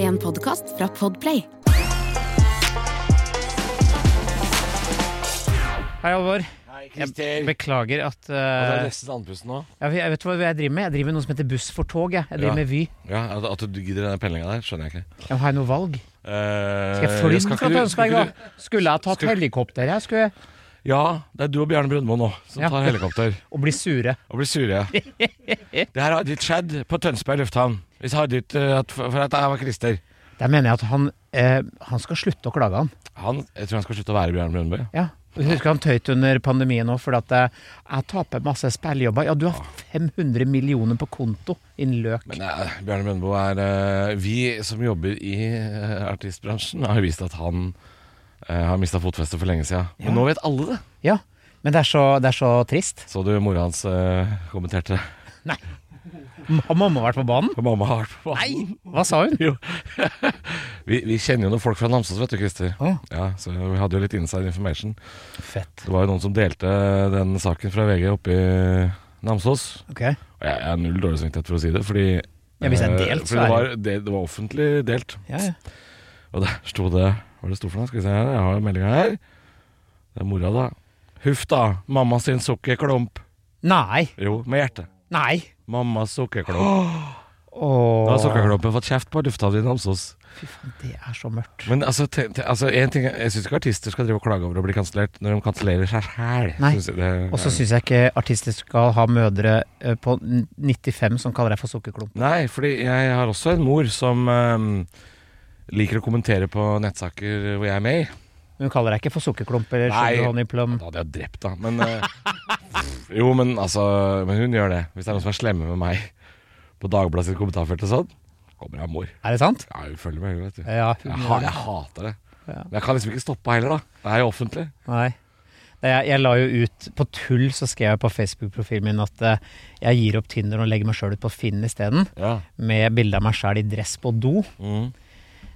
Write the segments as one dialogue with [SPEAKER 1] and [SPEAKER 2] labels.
[SPEAKER 1] en podkast fra Podplay.
[SPEAKER 2] Hei, Alvor.
[SPEAKER 3] Hei,
[SPEAKER 2] Jeg
[SPEAKER 3] Christer.
[SPEAKER 2] beklager at eh,
[SPEAKER 3] Og det er nesten andpusten nå.
[SPEAKER 2] ja, Jeg vet hva jeg driver med. Jeg driver med noe som heter Buss for tog. Jeg, jeg driver
[SPEAKER 3] Ja.
[SPEAKER 2] med Vy.
[SPEAKER 3] Ja, At, at du gidder den pendlinga der, skjønner jeg ikke.
[SPEAKER 2] Jeg har jeg noe valg?
[SPEAKER 3] Eh,
[SPEAKER 2] Skal jeg fly den
[SPEAKER 3] skal
[SPEAKER 2] fra
[SPEAKER 3] ikke du- skal
[SPEAKER 2] Tønsberg,
[SPEAKER 3] ikke
[SPEAKER 2] da? Skulle jeg tatt
[SPEAKER 3] Skal-
[SPEAKER 2] helikopter? Jeg skulle
[SPEAKER 3] du- Ja, det er du og Bjarne Brøndmo nå som
[SPEAKER 2] Ja.
[SPEAKER 3] tar helikopter
[SPEAKER 2] Og bli sure.
[SPEAKER 3] og blir sure. Det her har ditt skjedd på Tønsberg lufthavn. Hvis har ditt, eh, at, for at jeg var Christer.
[SPEAKER 2] Der mener jeg at han, eh, han skal slutte å klage, han.
[SPEAKER 3] Han, jeg tror han skal slutte å være Bjarne Brøndbo.
[SPEAKER 2] Ja. Jeg Husker han tøyt under pandemien òg, fordi at eh, jeg taper masse spilljobber. Ja, du har 500 millioner på konto, din løk.
[SPEAKER 3] Men eh, Bjarne Brøndbo er eh, Vi som jobber i eh, artistbransjen, har jo vist at han eh, har mista fotfestet for lenge siden. Men
[SPEAKER 2] Ja.
[SPEAKER 3] nå vet alle det.
[SPEAKER 2] Ja, men det er så, det er så trist.
[SPEAKER 3] Så du mora hans eh, kommenterte
[SPEAKER 2] Har mamma vært på banen?
[SPEAKER 3] på mamma har vært på banen.
[SPEAKER 2] Hva sa hun?
[SPEAKER 3] Jo. vi, vi kjenner jo noen folk fra Namsos, vet du, Christer.
[SPEAKER 2] Å.
[SPEAKER 3] Ja, så vi hadde jo litt inside information.
[SPEAKER 2] Fett.
[SPEAKER 3] Det var jo noen som delte den saken fra VG oppe i Namsos.
[SPEAKER 2] Ok.
[SPEAKER 3] Og jeg jeg har null dårlig samvittighet for å si det, fordi
[SPEAKER 2] Ja, hvis det er
[SPEAKER 3] eh,
[SPEAKER 2] delt, så
[SPEAKER 3] fordi det
[SPEAKER 2] er
[SPEAKER 3] var, det, det var offentlig delt.
[SPEAKER 2] Ja, ja.
[SPEAKER 3] Og der sto det Hva er det sto for noe? Skal vi se her, jeg har meldinga her. Det er mora, da. Huff da, mamma sin sukkerklump.
[SPEAKER 2] Nei.
[SPEAKER 3] Jo, med hjertet.
[SPEAKER 2] Nei.
[SPEAKER 3] Mammas sukkerklump. Da har
[SPEAKER 2] Åh,
[SPEAKER 3] sukkerklumpen fått kjeft på lufthavnen i Namsos.
[SPEAKER 2] fy faen, det er så mørkt.
[SPEAKER 3] Men altså, te, te, altså en ting, jeg syns ikke artister skal drive og klage over å bli kansellert når de kansellerer seg sjæl.
[SPEAKER 2] Nei. Og så syns jeg ikke artister skal ha mødre eh, på n- 95 som kaller deg for sukkerklump.
[SPEAKER 3] Nei, fordi jeg har også en mor som ehm, liker å kommentere på nettsaker hvor jeg er med i.
[SPEAKER 2] Hun kaller deg ikke for sukkerklump eller
[SPEAKER 3] Nei.
[SPEAKER 2] sugar honey plum.
[SPEAKER 3] Da hadde jeg drept, da. Men eh, Jo, men altså Men hun gjør det. Hvis det er noen som er slemme med meg på Dagbladet sitt kommentarfelt og sånn, kommer jeg av mor.
[SPEAKER 2] Er det sant? Eh,
[SPEAKER 3] Ja, hun følger med, hun, vet du.
[SPEAKER 2] Ja.
[SPEAKER 3] Jeg, ha, jeg hater det.
[SPEAKER 2] Ja.
[SPEAKER 3] Men jeg kan liksom ikke stoppe heller, da. Det er jo offentlig.
[SPEAKER 2] Nei. Det Jeg, jeg la jo ut På tull så skrev jeg på Facebook-profilen min at eh, jeg gir opp Tinder og legger meg sjøl ut på Finn isteden,
[SPEAKER 3] Ja.
[SPEAKER 2] med bilde av meg sjæl i dress på do.
[SPEAKER 3] Mm.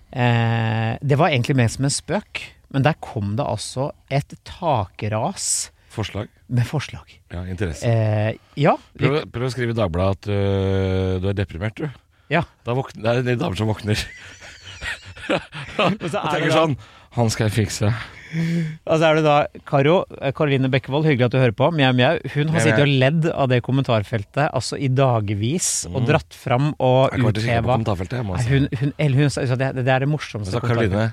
[SPEAKER 2] Eh, det var egentlig ment som en spøk, men der kom det altså et takras
[SPEAKER 3] Forslag?
[SPEAKER 2] med forslag.
[SPEAKER 3] Ja, interesse.
[SPEAKER 2] Eh, ja, vi,
[SPEAKER 3] Prøv, prøv å skrive i Dagbladet at øh, du er deprimert, du.
[SPEAKER 2] ja.
[SPEAKER 3] Da våkner, det er de damer som våkner
[SPEAKER 2] Og så er
[SPEAKER 3] og
[SPEAKER 2] det
[SPEAKER 3] tenker
[SPEAKER 2] da,
[SPEAKER 3] sånn Han skal jeg fikse.
[SPEAKER 2] altså er det da Karo, eh, Karoline Bekkevold, hyggelig at du hører på. Mjau, mjau. Hun har
[SPEAKER 3] Mjau,
[SPEAKER 2] sittet og ledd av det kommentarfeltet altså i dagevis, og dratt fram og
[SPEAKER 3] Mm. Jeg kommer til å kikke på
[SPEAKER 2] utheva
[SPEAKER 3] kommentarfeltet. Jeg må
[SPEAKER 2] Nei,
[SPEAKER 3] altså.
[SPEAKER 2] hun, hun, eller hun sa sa det, det er det morsomste
[SPEAKER 3] Altså, Karoline.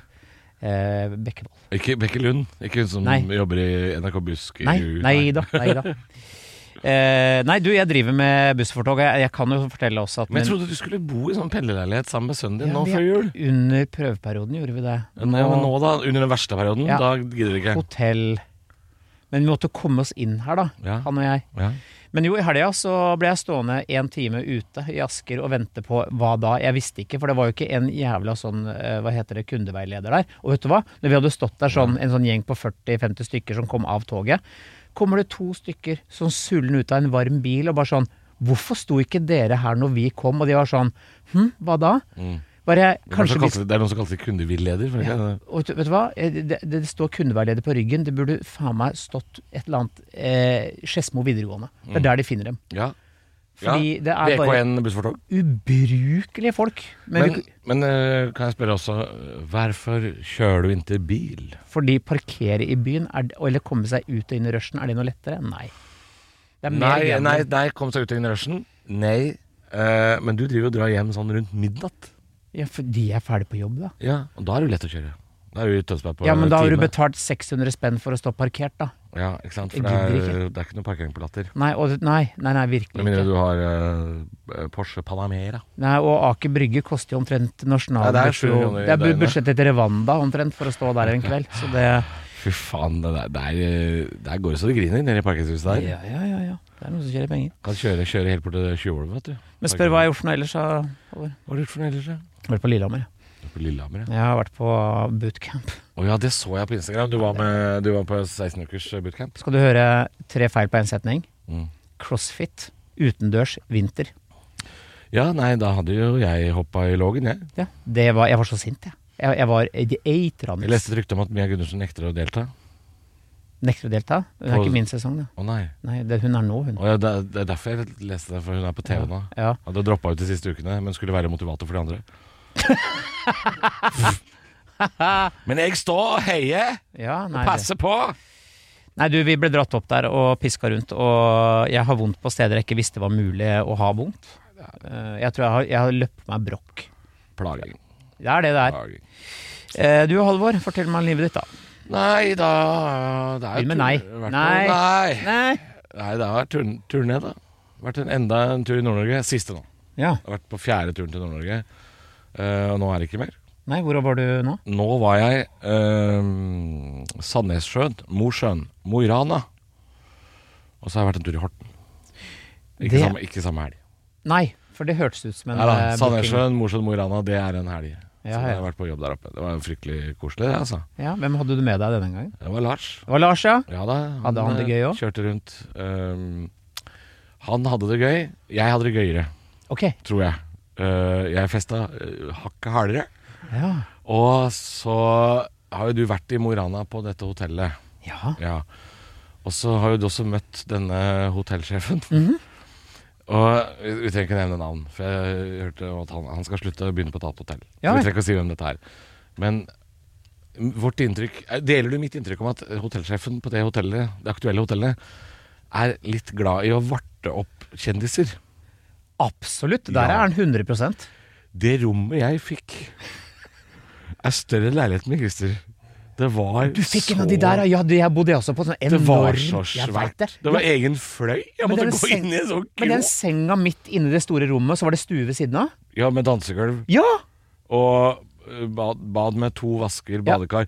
[SPEAKER 2] Eh, Bekkevold.
[SPEAKER 3] Ikke Bekke Lund. Ikke hun som
[SPEAKER 2] Nei.
[SPEAKER 3] jobber i NRK Busk.
[SPEAKER 2] Nei, nei da. Nei, da. Eh, nei, du, jeg driver med buss for tog. Jeg, jeg kan jo fortelle også at
[SPEAKER 3] Men jeg
[SPEAKER 2] min-
[SPEAKER 3] trodde du skulle bo i sånn pendlerleilighet sammen med sønnen din
[SPEAKER 2] Ja,
[SPEAKER 3] nå
[SPEAKER 2] vi-
[SPEAKER 3] før jul.
[SPEAKER 2] under prøveperioden gjorde vi det.
[SPEAKER 3] Nei, men nå da, Under den verste perioden.
[SPEAKER 2] Ja.
[SPEAKER 3] Da gidder du ikke.
[SPEAKER 2] Hotell. Men vi måtte komme oss inn her, da.
[SPEAKER 3] Ja.
[SPEAKER 2] Han og jeg.
[SPEAKER 3] Ja.
[SPEAKER 2] Men jo, i helga så ble jeg stående en time ute i Asker og vente på hva da. Jeg visste ikke, for det var jo ikke en jævla sånn, eh, hva heter det, kundeveileder der. Og vet du hva? Når vi hadde stått der sånn, en sånn gjeng på 40-50 stykker som kom av toget, kommer det to stykker som sullen ut av en varm bil og bare sånn, hvorfor sto ikke dere her når vi kom? Og de var sånn, hm, hva da? Bare,
[SPEAKER 3] Mm. Det er noen
[SPEAKER 2] kanskje
[SPEAKER 3] som
[SPEAKER 2] vi
[SPEAKER 3] kalte- Det er noen som kaller seg kundevilleder. for det er ikke det? sånn.
[SPEAKER 2] og vet, du- vet du hva? Eh, Det, det det står kundeveileder på ryggen. Det burde faen meg stått et eller annet eh, Skedsmo videregående. Det er der de finner dem.
[SPEAKER 3] Ja.
[SPEAKER 2] Fordi det er
[SPEAKER 3] VK1
[SPEAKER 2] bare
[SPEAKER 3] buss for tog.
[SPEAKER 2] ubrukelige folk. Men,
[SPEAKER 3] Men,
[SPEAKER 2] vi,
[SPEAKER 3] men øh, kan jeg spørre også øh, Hvorfor kjører du ikke bil?
[SPEAKER 2] fordi parkere i byen, er, det- eller komme seg ut og inn i rushen, er det noe lettere? Nei. Det er mer
[SPEAKER 3] Nei,
[SPEAKER 2] gambling.
[SPEAKER 3] nei, nei, kom seg ut av rushen. Nei. eh, men du driver og drar hjem sånn rundt midnatt.
[SPEAKER 2] Ja, fordi jeg er ferdig på jobb, da.
[SPEAKER 3] Ja, Og da er det jo lett å kjøre. Da er du i Tønsberg på
[SPEAKER 2] Ja, men da har
[SPEAKER 3] en
[SPEAKER 2] du
[SPEAKER 3] time.
[SPEAKER 2] betalt 600 spenn for å stå parkert, da.
[SPEAKER 3] Ja, ikke sant? For
[SPEAKER 2] Jeg
[SPEAKER 3] det er,
[SPEAKER 2] gidder
[SPEAKER 3] det er ikke noe parkering på Latter.
[SPEAKER 2] Nei, og, nei, nei, nei virkelig
[SPEAKER 3] Med mindre
[SPEAKER 2] ikke.
[SPEAKER 3] du har eh, Porsche Panamera.
[SPEAKER 2] Nei, og Aker Brygge koster jo omtrent nasjonalbudsjettet.
[SPEAKER 3] sju kroner i
[SPEAKER 2] Det er bu-
[SPEAKER 3] døgnet.
[SPEAKER 2] budsjettet til Rwanda omtrent for å stå der en kveld. Så det
[SPEAKER 3] Fy faen, det der, der, eh, der går det så det griner nede i parkeringshuset der.
[SPEAKER 2] Ja, ja, ja, ja. Det er noen som tjener penger.
[SPEAKER 3] Kan kjøre, kjøre helt bort til Tjuvholmen, vet du.
[SPEAKER 2] Men spør hva jeg har gjort nå ellers. da, Halvor.
[SPEAKER 3] Hva har du gjort for noe ellers? ja?
[SPEAKER 2] Jeg har vært på Lillehammer.
[SPEAKER 3] Du er På Lillehammer, ja.
[SPEAKER 2] Jeg har vært på bootcamp.
[SPEAKER 3] Å ja, det så jeg på Instagram. Du var, med, du var på 16 ukers eh, bootcamp.
[SPEAKER 2] Skal du høre tre feil på én setning?
[SPEAKER 3] Mm.
[SPEAKER 2] Crossfit, utendørs, vinter.
[SPEAKER 3] Ja, nei, da hadde jo jeg hoppa i lågen, jeg.
[SPEAKER 2] Ja, det var, jeg var så sint, jeg. Jeg, jeg var
[SPEAKER 3] Jeg
[SPEAKER 2] eitranis.
[SPEAKER 3] leste et rykte om at Mia Gundersen nekter å delta.
[SPEAKER 2] Nekter å delta. Hun er
[SPEAKER 3] På-
[SPEAKER 2] ikke min sesong, da.
[SPEAKER 3] Å nei.
[SPEAKER 2] Nei, det, hun er nå, hun.
[SPEAKER 3] Å ja, det, er- det er derfor jeg leste det, for hun er på TV nå.
[SPEAKER 2] Ja.
[SPEAKER 3] Hadde droppa ut de siste ukene, men skulle være motivator for de andre. Men jeg står og heier
[SPEAKER 2] Ja,
[SPEAKER 3] og
[SPEAKER 2] nei, det-
[SPEAKER 3] passer på.
[SPEAKER 2] nei, du, vi ble dratt opp der og piska rundt, og jeg har vondt på steder jeg ikke visste var mulig å ha vondt. Eh, Jeg tror jeg har, jeg har løpt meg brokk.
[SPEAKER 3] Plaging.
[SPEAKER 2] Det er det det er.
[SPEAKER 3] Plaging.
[SPEAKER 2] Eh, Du, Halvor, fortell meg om livet ditt, da.
[SPEAKER 3] Nei da det er jo
[SPEAKER 2] Begynn med nei.
[SPEAKER 3] tur- vært
[SPEAKER 2] Nei.
[SPEAKER 3] noe- nei.
[SPEAKER 2] Nei.
[SPEAKER 3] Nei, det har vært turn- turné, da. Vært en, enda en tur i Nord-Norge. Siste nå.
[SPEAKER 2] Ja.
[SPEAKER 3] Jeg har vært på fjerde turen til Nord-Norge, eh, og nå er det ikke mer.
[SPEAKER 2] Nei, hvor var du nå?
[SPEAKER 3] Nå var jeg eh, Sandnessjøen, Mosjøen, Mo i Rana. Og så har jeg vært en tur i Horten. Ikke,
[SPEAKER 2] Det-
[SPEAKER 3] samme, ikke samme helg.
[SPEAKER 2] Nei, for det hørtes ut som en
[SPEAKER 3] Nei da,
[SPEAKER 2] eh, booking.
[SPEAKER 3] Sandnessjøen, Mosjøen, Mo i Rana, det er en helg.
[SPEAKER 2] Ja,
[SPEAKER 3] så jeg
[SPEAKER 2] ja.
[SPEAKER 3] har vært på jobb der oppe. Det var fryktelig koselig, det, altså.
[SPEAKER 2] Ja, Hvem hadde du med deg denne gangen?
[SPEAKER 3] Det var Lars.
[SPEAKER 2] Det var Lars, ja.
[SPEAKER 3] Ja da,
[SPEAKER 2] Hadde han det
[SPEAKER 3] eh,
[SPEAKER 2] gøy også?
[SPEAKER 3] Kjørte rundt. Ehm, han hadde det gøy, jeg hadde det gøyere,
[SPEAKER 2] Ok.
[SPEAKER 3] tror jeg. Eh, jeg festa eh, hakket hardere.
[SPEAKER 2] Ja.
[SPEAKER 3] Og så har jo du vært i Mo i Rana på dette hotellet.
[SPEAKER 2] ja.
[SPEAKER 3] Ja. Og så har jo du også møtt denne hotellsjefen.
[SPEAKER 2] Mhm.
[SPEAKER 3] Og vi vi trenger ikke nevne navn, for jeg hørte at han, han skal slutte å begynne på et annet hotell.
[SPEAKER 2] Ja,
[SPEAKER 3] så vi
[SPEAKER 2] vel.
[SPEAKER 3] trenger ikke å si hvem dette er. Men vårt inntrykk eh, Deler du mitt inntrykk om at hotellsjefen på det hotellet, det aktuelle hotellet er litt glad i å varte opp kjendiser?
[SPEAKER 2] Absolutt. Der
[SPEAKER 3] Ja.
[SPEAKER 2] er han 100
[SPEAKER 3] Det rommet jeg fikk, er større enn leiligheten min, Christer. Det var
[SPEAKER 2] Du fikk
[SPEAKER 3] så
[SPEAKER 2] en av de der, ja. de- Jeg bodde jeg også på. Sånn enorm
[SPEAKER 3] Det var så
[SPEAKER 2] Jeg vet
[SPEAKER 3] svært.
[SPEAKER 2] det.
[SPEAKER 3] Det. var egen fløy. Jeg
[SPEAKER 2] Men
[SPEAKER 3] måtte
[SPEAKER 2] den
[SPEAKER 3] gå
[SPEAKER 2] seng-
[SPEAKER 3] inn i en sånn
[SPEAKER 2] Men den
[SPEAKER 3] krok.
[SPEAKER 2] senga midt inne i det store rommet, så var det stue ved siden av?
[SPEAKER 3] Ja, med dansegulv
[SPEAKER 2] Ja!
[SPEAKER 3] og eh, bad, bad med to vasker, badekar.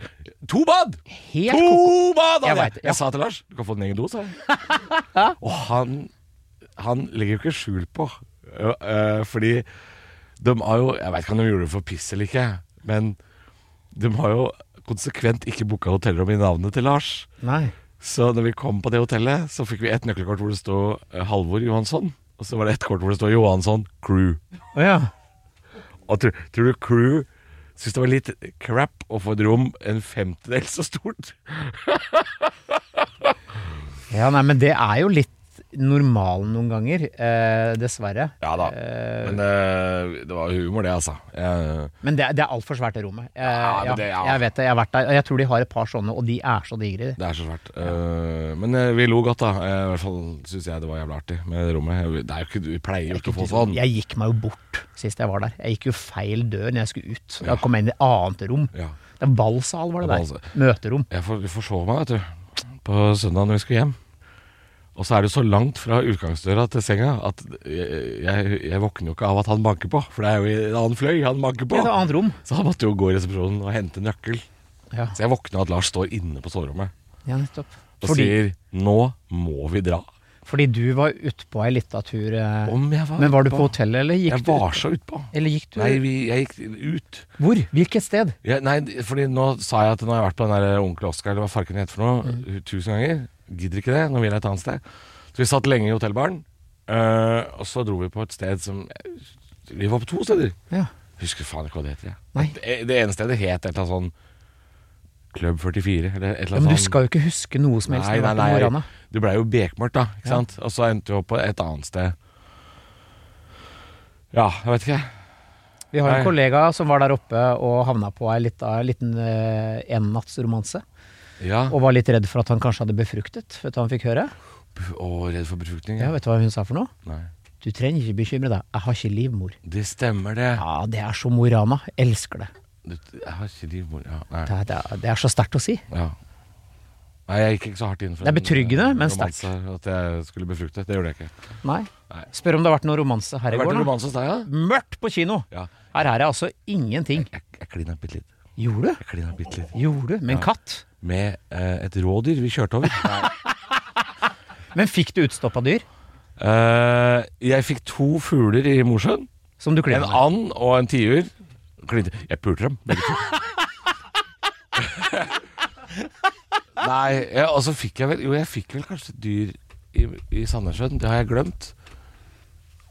[SPEAKER 3] To bad!
[SPEAKER 2] Helt
[SPEAKER 3] to
[SPEAKER 2] koko.
[SPEAKER 3] bad! hadde
[SPEAKER 2] Jeg
[SPEAKER 3] Jeg,
[SPEAKER 2] vet det,
[SPEAKER 3] jeg.
[SPEAKER 2] ja.
[SPEAKER 3] sa til Lars du kan få din egen do, sa jeg. og han, han legger jo ikke skjul på, Ø- ø, fordi de har jo Jeg veit ikke om de gjorde det for piss eller ikke, men de har jo konsekvent ikke booka hotellrom i navnet til Lars.
[SPEAKER 2] Nei.
[SPEAKER 3] Så når vi kom på det hotellet, så fikk vi et nøkkelkort hvor det stod eh, Halvor Johansson. Og så var det et kort hvor det stod Johansson Crew.
[SPEAKER 2] Å ja.
[SPEAKER 3] Og tror, tror du Crew syntes det var litt crap å få et rom en femtedel så stort?
[SPEAKER 2] ja. Nei, men det er jo litt normalen noen ganger, eh, dessverre.
[SPEAKER 3] Ja da.
[SPEAKER 2] Eh,
[SPEAKER 3] Men eh, det var humor, det, altså. Jeg,
[SPEAKER 2] men det, er- det er altfor svært, det rommet. Eh,
[SPEAKER 3] Ja, men det- ja.
[SPEAKER 2] Jeg vet det, jeg har vært der. og Jeg tror de har et par sånne, og de er så digre.
[SPEAKER 3] det er så svært. Eh, men eh, vi lo godt, da. Eh, I hvert fall syns jeg det var jævlig artig med det rommet. Jeg- Det er jo ikke, vi pleier jo ikke å få sånn.
[SPEAKER 2] Jeg gikk meg jo bort sist jeg var der. Jeg gikk jo feil dør når jeg skulle ut. Jeg kom inn i et annet rom.
[SPEAKER 3] Ja.
[SPEAKER 2] Det var ballsal, var det
[SPEAKER 3] Det var
[SPEAKER 2] der. Møterom.
[SPEAKER 3] Jeg får, jeg får se meg, vet du. På søndag når vi skulle hjem. Og så er det jo så langt fra utgangsdøra til senga at jeg, jeg, jeg våkner jo ikke av at han banker på. For det er jo i en annen fløy han banker
[SPEAKER 2] Det
[SPEAKER 3] på.
[SPEAKER 2] var et annet rom.
[SPEAKER 3] Så han måtte jo gå i resepsjonen og hente nøkkel.
[SPEAKER 2] Ja,
[SPEAKER 3] Så jeg våkner av at Lars står inne på soverommet
[SPEAKER 2] ja nettopp.
[SPEAKER 3] og
[SPEAKER 2] Fordi,
[SPEAKER 3] sier 'nå må vi dra'.
[SPEAKER 2] fordi du var utpå ei lita tur. eh,
[SPEAKER 3] Om jeg var
[SPEAKER 2] Men var du
[SPEAKER 3] utpå.
[SPEAKER 2] på hotellet, eller gikk
[SPEAKER 3] Jeg
[SPEAKER 2] du
[SPEAKER 3] var så utpå.
[SPEAKER 2] Eller gikk du
[SPEAKER 3] Nei, vi, jeg gikk ut.
[SPEAKER 2] Hvor? Hvilket sted?
[SPEAKER 3] Ja, nei, fordi nå sa jeg at nå har jeg vært på den der onkel Oskar, eller hva farken heter for noe,
[SPEAKER 2] Mm.
[SPEAKER 3] tusen ganger. Gidder ikke det, nå vil jeg et annet sted. Så vi satt lenge i hotellbaren, øh, og så dro vi på et sted som Vi var på to steder.
[SPEAKER 2] Ja.
[SPEAKER 3] Husker faen ikke hva det heter. Jeg.
[SPEAKER 2] Nei.
[SPEAKER 3] Det, det ene stedet het et eller annet sånn Club 44, eller et eller
[SPEAKER 2] ja
[SPEAKER 3] annet
[SPEAKER 2] men du
[SPEAKER 3] sånn-
[SPEAKER 2] skal jo ikke huske noe som helst.
[SPEAKER 3] Nei, nei, nei,
[SPEAKER 2] nei.
[SPEAKER 3] det ble jo bekmørkt, da. Ikke
[SPEAKER 2] Ja.
[SPEAKER 3] sant? Og så endte vi opp på et annet sted. Ja, jeg vet ikke.
[SPEAKER 2] Vi har en
[SPEAKER 3] Nei.
[SPEAKER 2] kollega som var der oppe og havna på ei lita- liten uh, ennattsromanse.
[SPEAKER 3] Ja.
[SPEAKER 2] Og var litt redd for at han kanskje hadde befruktet. Vet du hva han fikk høre?
[SPEAKER 3] Og redd for befruktning.
[SPEAKER 2] Ja,
[SPEAKER 3] Ja.
[SPEAKER 2] Vet du hva hun sa for noe?
[SPEAKER 3] Nei.
[SPEAKER 2] Du trenger ikke bekymre deg, jeg har ikke livmor.
[SPEAKER 3] Det stemmer, det.
[SPEAKER 2] Ja, det er så Mo i Rana. Elsker det.
[SPEAKER 3] Du, jeg har ikke livmor ja, nei.
[SPEAKER 2] Det er, det er, det er så sterkt å si.
[SPEAKER 3] Ja. nei, jeg gikk ikke så hardt inn for
[SPEAKER 2] Det er
[SPEAKER 3] en,
[SPEAKER 2] betryggende,
[SPEAKER 3] eh,
[SPEAKER 2] men
[SPEAKER 3] romanse, At jeg skulle befrukte. Det gjorde jeg ikke.
[SPEAKER 2] Nei.
[SPEAKER 3] Nei.
[SPEAKER 2] Spør om det har vært noe romanse
[SPEAKER 3] Har
[SPEAKER 2] her
[SPEAKER 3] det
[SPEAKER 2] i
[SPEAKER 3] vært
[SPEAKER 2] går.
[SPEAKER 3] en
[SPEAKER 2] da.
[SPEAKER 3] romanse hos deg, da?
[SPEAKER 2] Mørkt på kino!
[SPEAKER 3] Ja.
[SPEAKER 2] Her er det altså ingenting.
[SPEAKER 3] Jeg, jeg klina bitte litt.
[SPEAKER 2] Gjorde du?
[SPEAKER 3] Jeg klina bitte litt.
[SPEAKER 2] Gjorde du? Med en katt?
[SPEAKER 3] Med eh, et rådyr vi kjørte over.
[SPEAKER 2] Men fikk du utstoppa dyr?
[SPEAKER 3] Eh, jeg fikk to fugler i Mosjøen.
[SPEAKER 2] Som du
[SPEAKER 3] En
[SPEAKER 2] klina med?
[SPEAKER 3] and og en tiur. Klinte. Jeg pulte dem, begge to. Nei, jeg, og så fikk jeg vel Jo, jeg fikk vel kanskje et dyr i, i Sandnessjøen. Det har jeg glemt.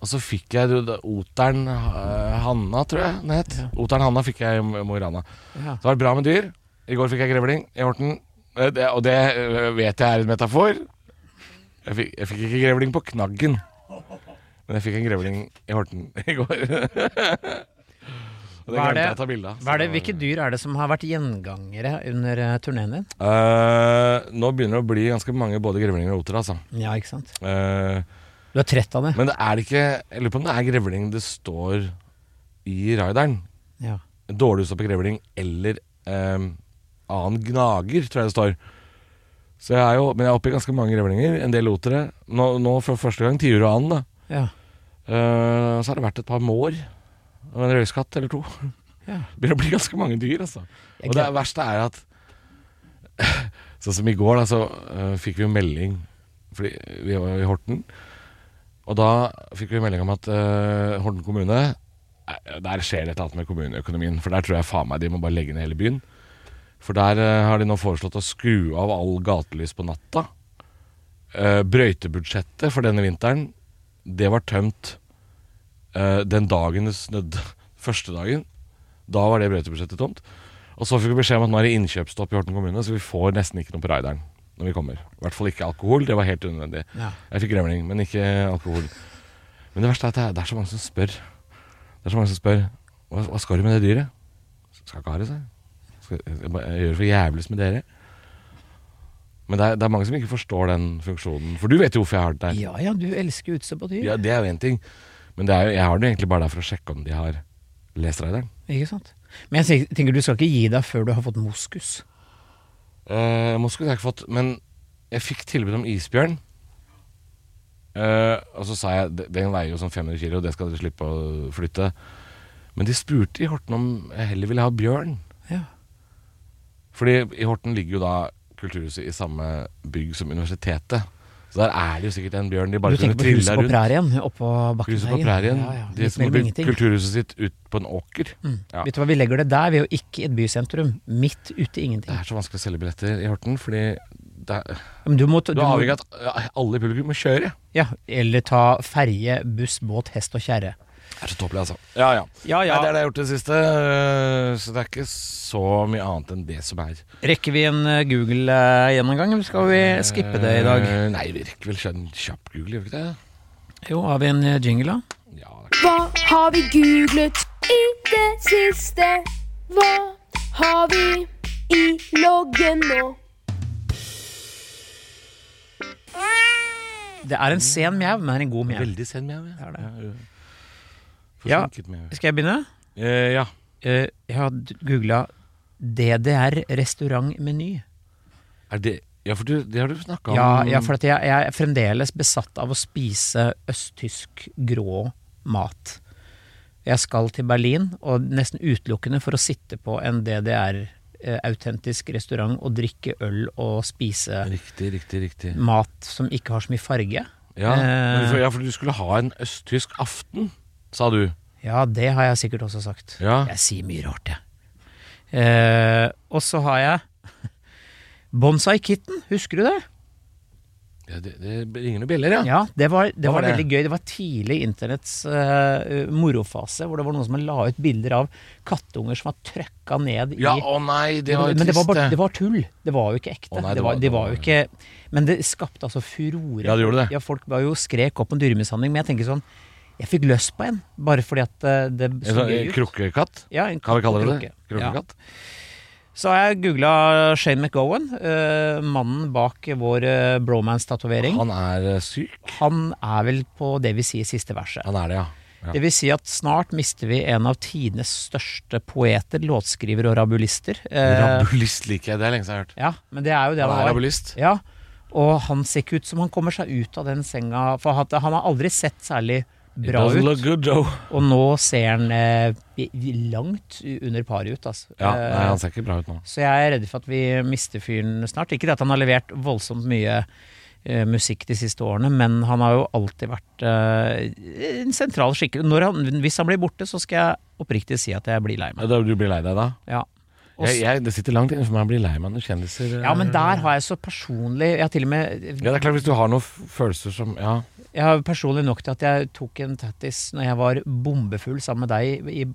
[SPEAKER 3] Og så fikk jeg jo da- Oteren eh, Hanna, tror jeg den het. Oteren Hanna fikk jeg i Mo i Rana.
[SPEAKER 2] Ja.
[SPEAKER 3] Så det har vært bra med dyr. I går fikk jeg grevling i Horten. Eh, Det, og det eh, vet jeg er en metafor. Jeg fikk, jeg fikk ikke grevling på knaggen, men jeg fikk en grevling i Horten i går. Og
[SPEAKER 2] Hva er
[SPEAKER 3] det glemte
[SPEAKER 2] det-
[SPEAKER 3] jeg å ta bilde av. så
[SPEAKER 2] Hva er det,
[SPEAKER 3] det var-
[SPEAKER 2] hvilke dyr er det som har vært gjengangere under uh, turneen din?
[SPEAKER 3] Eh, nå begynner det å bli ganske mange både grevlinger og oter, altså.
[SPEAKER 2] Ja, ikke sant?
[SPEAKER 3] Eh,
[SPEAKER 2] Du er trett av det?
[SPEAKER 3] men det er ikke Jeg lurer på om det er grevling det står i raideren.
[SPEAKER 2] Ja.
[SPEAKER 3] Dårlig utstoppet grevling eller eh, annen gnager, tror jeg det står. Så jeg er jo, men jeg er oppe i ganske mange grevlinger. En del otere. Nå, nå for første gang tiur og and. da.
[SPEAKER 2] ja.
[SPEAKER 3] Eh, så har det vært et par mår og en røyskatt eller to.
[SPEAKER 2] Ja.
[SPEAKER 3] Begynner å bli ganske mange dyr, altså.
[SPEAKER 2] Jeg
[SPEAKER 3] Og det
[SPEAKER 2] gleder-
[SPEAKER 3] verste er at Sånn som i går, da, så eh, fikk vi jo melding Fordi vi var jo i Horten. Og da fikk vi melding om at eh, Horten kommune eh, Der skjer det et eller annet med kommuneøkonomien. For der tror jeg faen meg de må bare legge ned hele byen. For der eh, har de nå foreslått å skru av all gatelys på natta. Eh, brøytebudsjettet for denne vinteren, det var tømt eh, den dagen det snødde. Første dagen. Da var det brøytebudsjettet tomt. Og så fikk vi beskjed om at nå er det innkjøpsstopp i Horten kommune, så vi får nesten ikke noe på Raideren når vi kommer. I hvert fall ikke alkohol. Det var helt unødvendig.
[SPEAKER 2] Ja.
[SPEAKER 3] Jeg fikk gremling, men ikke alkohol. Men det verste er at det er, det er så mange som spør. Det er så mange som spør Hva, hva skal du med det dyret? Skal ikke ha det, sa jeg. Skal, jeg, bare- jeg gjør det for jævligst med dere. Men det er, det er mange som ikke forstår den funksjonen. For du vet jo hvorfor jeg har det der.
[SPEAKER 2] ja ja, du elsker utstopp og dyr.
[SPEAKER 3] Ja, det er jo én ting. Men det er jo, jeg har den jo egentlig bare der for å sjekke om de har lest Raideren.
[SPEAKER 2] Ikke sant? Men jeg tenker- tenker du skal ikke gi deg før du har fått moskus.
[SPEAKER 3] Uh, Moskva har jeg ikke fått, men jeg fikk tilbud om isbjørn. Eh, og så sa jeg "De- den veier jo sånn 500 kilo, det skal dere slippe å flytte. Men de spurte i Horten om jeg heller ville ha bjørn.
[SPEAKER 2] Ja.
[SPEAKER 3] Fordi i Horten ligger jo da kulturhuset i samme bygg som universitetet. Så der er det jo sikkert en bjørn de bare
[SPEAKER 2] Du
[SPEAKER 3] kunne
[SPEAKER 2] tenker på
[SPEAKER 3] trilla
[SPEAKER 2] huset på
[SPEAKER 3] rundt.
[SPEAKER 2] prærien oppå
[SPEAKER 3] Huset
[SPEAKER 2] Bakketeigen?
[SPEAKER 3] på prærien.
[SPEAKER 2] Ja, ja.
[SPEAKER 3] De
[SPEAKER 2] Litt
[SPEAKER 3] som
[SPEAKER 2] mellom
[SPEAKER 3] har bygd
[SPEAKER 2] ingenting. Mm.
[SPEAKER 3] kulturhuset sitt ut på en åker. Ja.
[SPEAKER 2] Vet du hva, vi legger det der, vi er jo ikke i et sentrum. Midt ute i
[SPEAKER 3] Det
[SPEAKER 2] ingenting.
[SPEAKER 3] er så vanskelig å selge billetter i Horten, fordi det er,
[SPEAKER 2] Men du må, ta- du
[SPEAKER 3] du er
[SPEAKER 2] må-
[SPEAKER 3] avhengig av at ja, alle i publikum må kjøre.
[SPEAKER 2] Ja, eller ta ferje, buss, båt, hest og kjerre.
[SPEAKER 3] Det er så tåpelig, altså. Ja, ja.
[SPEAKER 2] Ja,
[SPEAKER 3] Nei, det er det jeg har gjort det siste, øh, så det er ikke så mye annet enn det som er.
[SPEAKER 2] Rekker vi en eh, Google-gjennomgang, eller skal vi skippe det i dag?
[SPEAKER 3] Øh, Nei, vi rekker vel skjønn kjapp Google, gjør vi ikke det?
[SPEAKER 2] Jo, har vi en eh, jingle, da?
[SPEAKER 3] Ja,
[SPEAKER 1] Hva har vi googlet i det siste? Hva har vi i loggen nå?
[SPEAKER 2] Det er en sen mjau, men det er en god
[SPEAKER 3] det er
[SPEAKER 2] mjau.
[SPEAKER 3] veldig sen mjau. ja.
[SPEAKER 2] Det er det.
[SPEAKER 3] Ja, ja.
[SPEAKER 2] Ja.
[SPEAKER 3] Forsinket mjau.
[SPEAKER 2] Skal jeg begynne?
[SPEAKER 3] Eh, ja.
[SPEAKER 2] Eh, Jeg har googla DDR restaurantmeny.
[SPEAKER 3] Er det Ja, for du, det har du snakka om.
[SPEAKER 2] Ja, ja, for at jeg, jeg er fremdeles besatt av å spise østtysk grå mat. Jeg skal til Berlin, og nesten utelukkende for å sitte på en DDR-autentisk eh, restaurant og drikke øl og spise
[SPEAKER 3] Riktig, riktig, riktig.
[SPEAKER 2] mat som ikke har så mye farge.
[SPEAKER 3] Ja, men
[SPEAKER 2] Mm.
[SPEAKER 3] for,
[SPEAKER 2] Eh,
[SPEAKER 3] ja, for du skulle ha en østtysk aften, sa du.
[SPEAKER 2] ja, det har jeg sikkert også sagt.
[SPEAKER 3] Ja.
[SPEAKER 2] Jeg sier mye rart, jeg. Eh, og så har jeg Bonsai Kitten, husker du det?
[SPEAKER 3] ja det, det ringer noen bjeller, ja.
[SPEAKER 2] Ja, det var, det var
[SPEAKER 3] Hva var det?
[SPEAKER 2] veldig gøy. Det var tidlig internetts eh, morofase, hvor det var noen som la ut bilder av kattunger som var trøkka ned i
[SPEAKER 3] Ja, å nei, det var jo
[SPEAKER 2] Men det var,
[SPEAKER 3] trist,
[SPEAKER 2] bare, det var tull. Det var jo ikke ekte.
[SPEAKER 3] Å nei,
[SPEAKER 2] det, var, det var jo ikke Men det skapte altså furore.
[SPEAKER 3] Ja, det gjorde det.
[SPEAKER 2] Ja, folk var jo skrek opp om dyremishandling, men jeg tenker sånn Jeg fikk lyst på en, bare fordi at eh, det
[SPEAKER 3] En
[SPEAKER 2] så
[SPEAKER 3] sånn
[SPEAKER 2] gøy ut.
[SPEAKER 3] Krukkekatt,
[SPEAKER 2] Ja, en
[SPEAKER 3] kan vi kalle det
[SPEAKER 2] krukke.
[SPEAKER 3] det? Krukkekatt?
[SPEAKER 2] Så har jeg googla Shane McGowan, eh, mannen bak vår eh, bromance-tatovering.
[SPEAKER 3] Han er eh, syk.
[SPEAKER 2] Han er vel på det vi sier siste verset.
[SPEAKER 3] Han er det, ja. ja.
[SPEAKER 2] Det vil si at snart mister vi en av tidenes største poeter, låtskriver og rabulister. Eh,
[SPEAKER 3] Rabulist liker jeg, det er lenge siden jeg har hørt.
[SPEAKER 2] ja, men det er jo det
[SPEAKER 3] Han er
[SPEAKER 2] han var.
[SPEAKER 3] rabulist.
[SPEAKER 2] Ja, og han ser ikke ut som han kommer seg ut av den senga, for han han har aldri sett særlig bra
[SPEAKER 3] Doesn't look
[SPEAKER 2] ut.
[SPEAKER 3] good, though.
[SPEAKER 2] Og nå ser han eh, i- langt under paret ut, altså.
[SPEAKER 3] Ja,
[SPEAKER 2] Eh,
[SPEAKER 3] nei, han ser ikke bra ut nå.
[SPEAKER 2] så jeg er redd for at vi mister fyren snart. Ikke det at han har levert voldsomt mye eh, musikk de siste årene, men han har jo alltid vært eh, en sentral skikkelse. Når han- Hvis han blir borte, så skal jeg oppriktig si at jeg blir lei meg.
[SPEAKER 3] Ja, da, du blir lei deg da?
[SPEAKER 2] Ja. Og
[SPEAKER 3] Jeg,
[SPEAKER 2] s-
[SPEAKER 3] jeg, det sitter langt inne for meg å bli lei meg når kjendiser eh,
[SPEAKER 2] ja, men der har jeg så personlig Jeg har til og med
[SPEAKER 3] Ja, det er klart hvis du har noen f- følelser som Ja,
[SPEAKER 2] Jeg har personlig nok til at jeg tok en tattis når jeg var bombefull sammen med deg i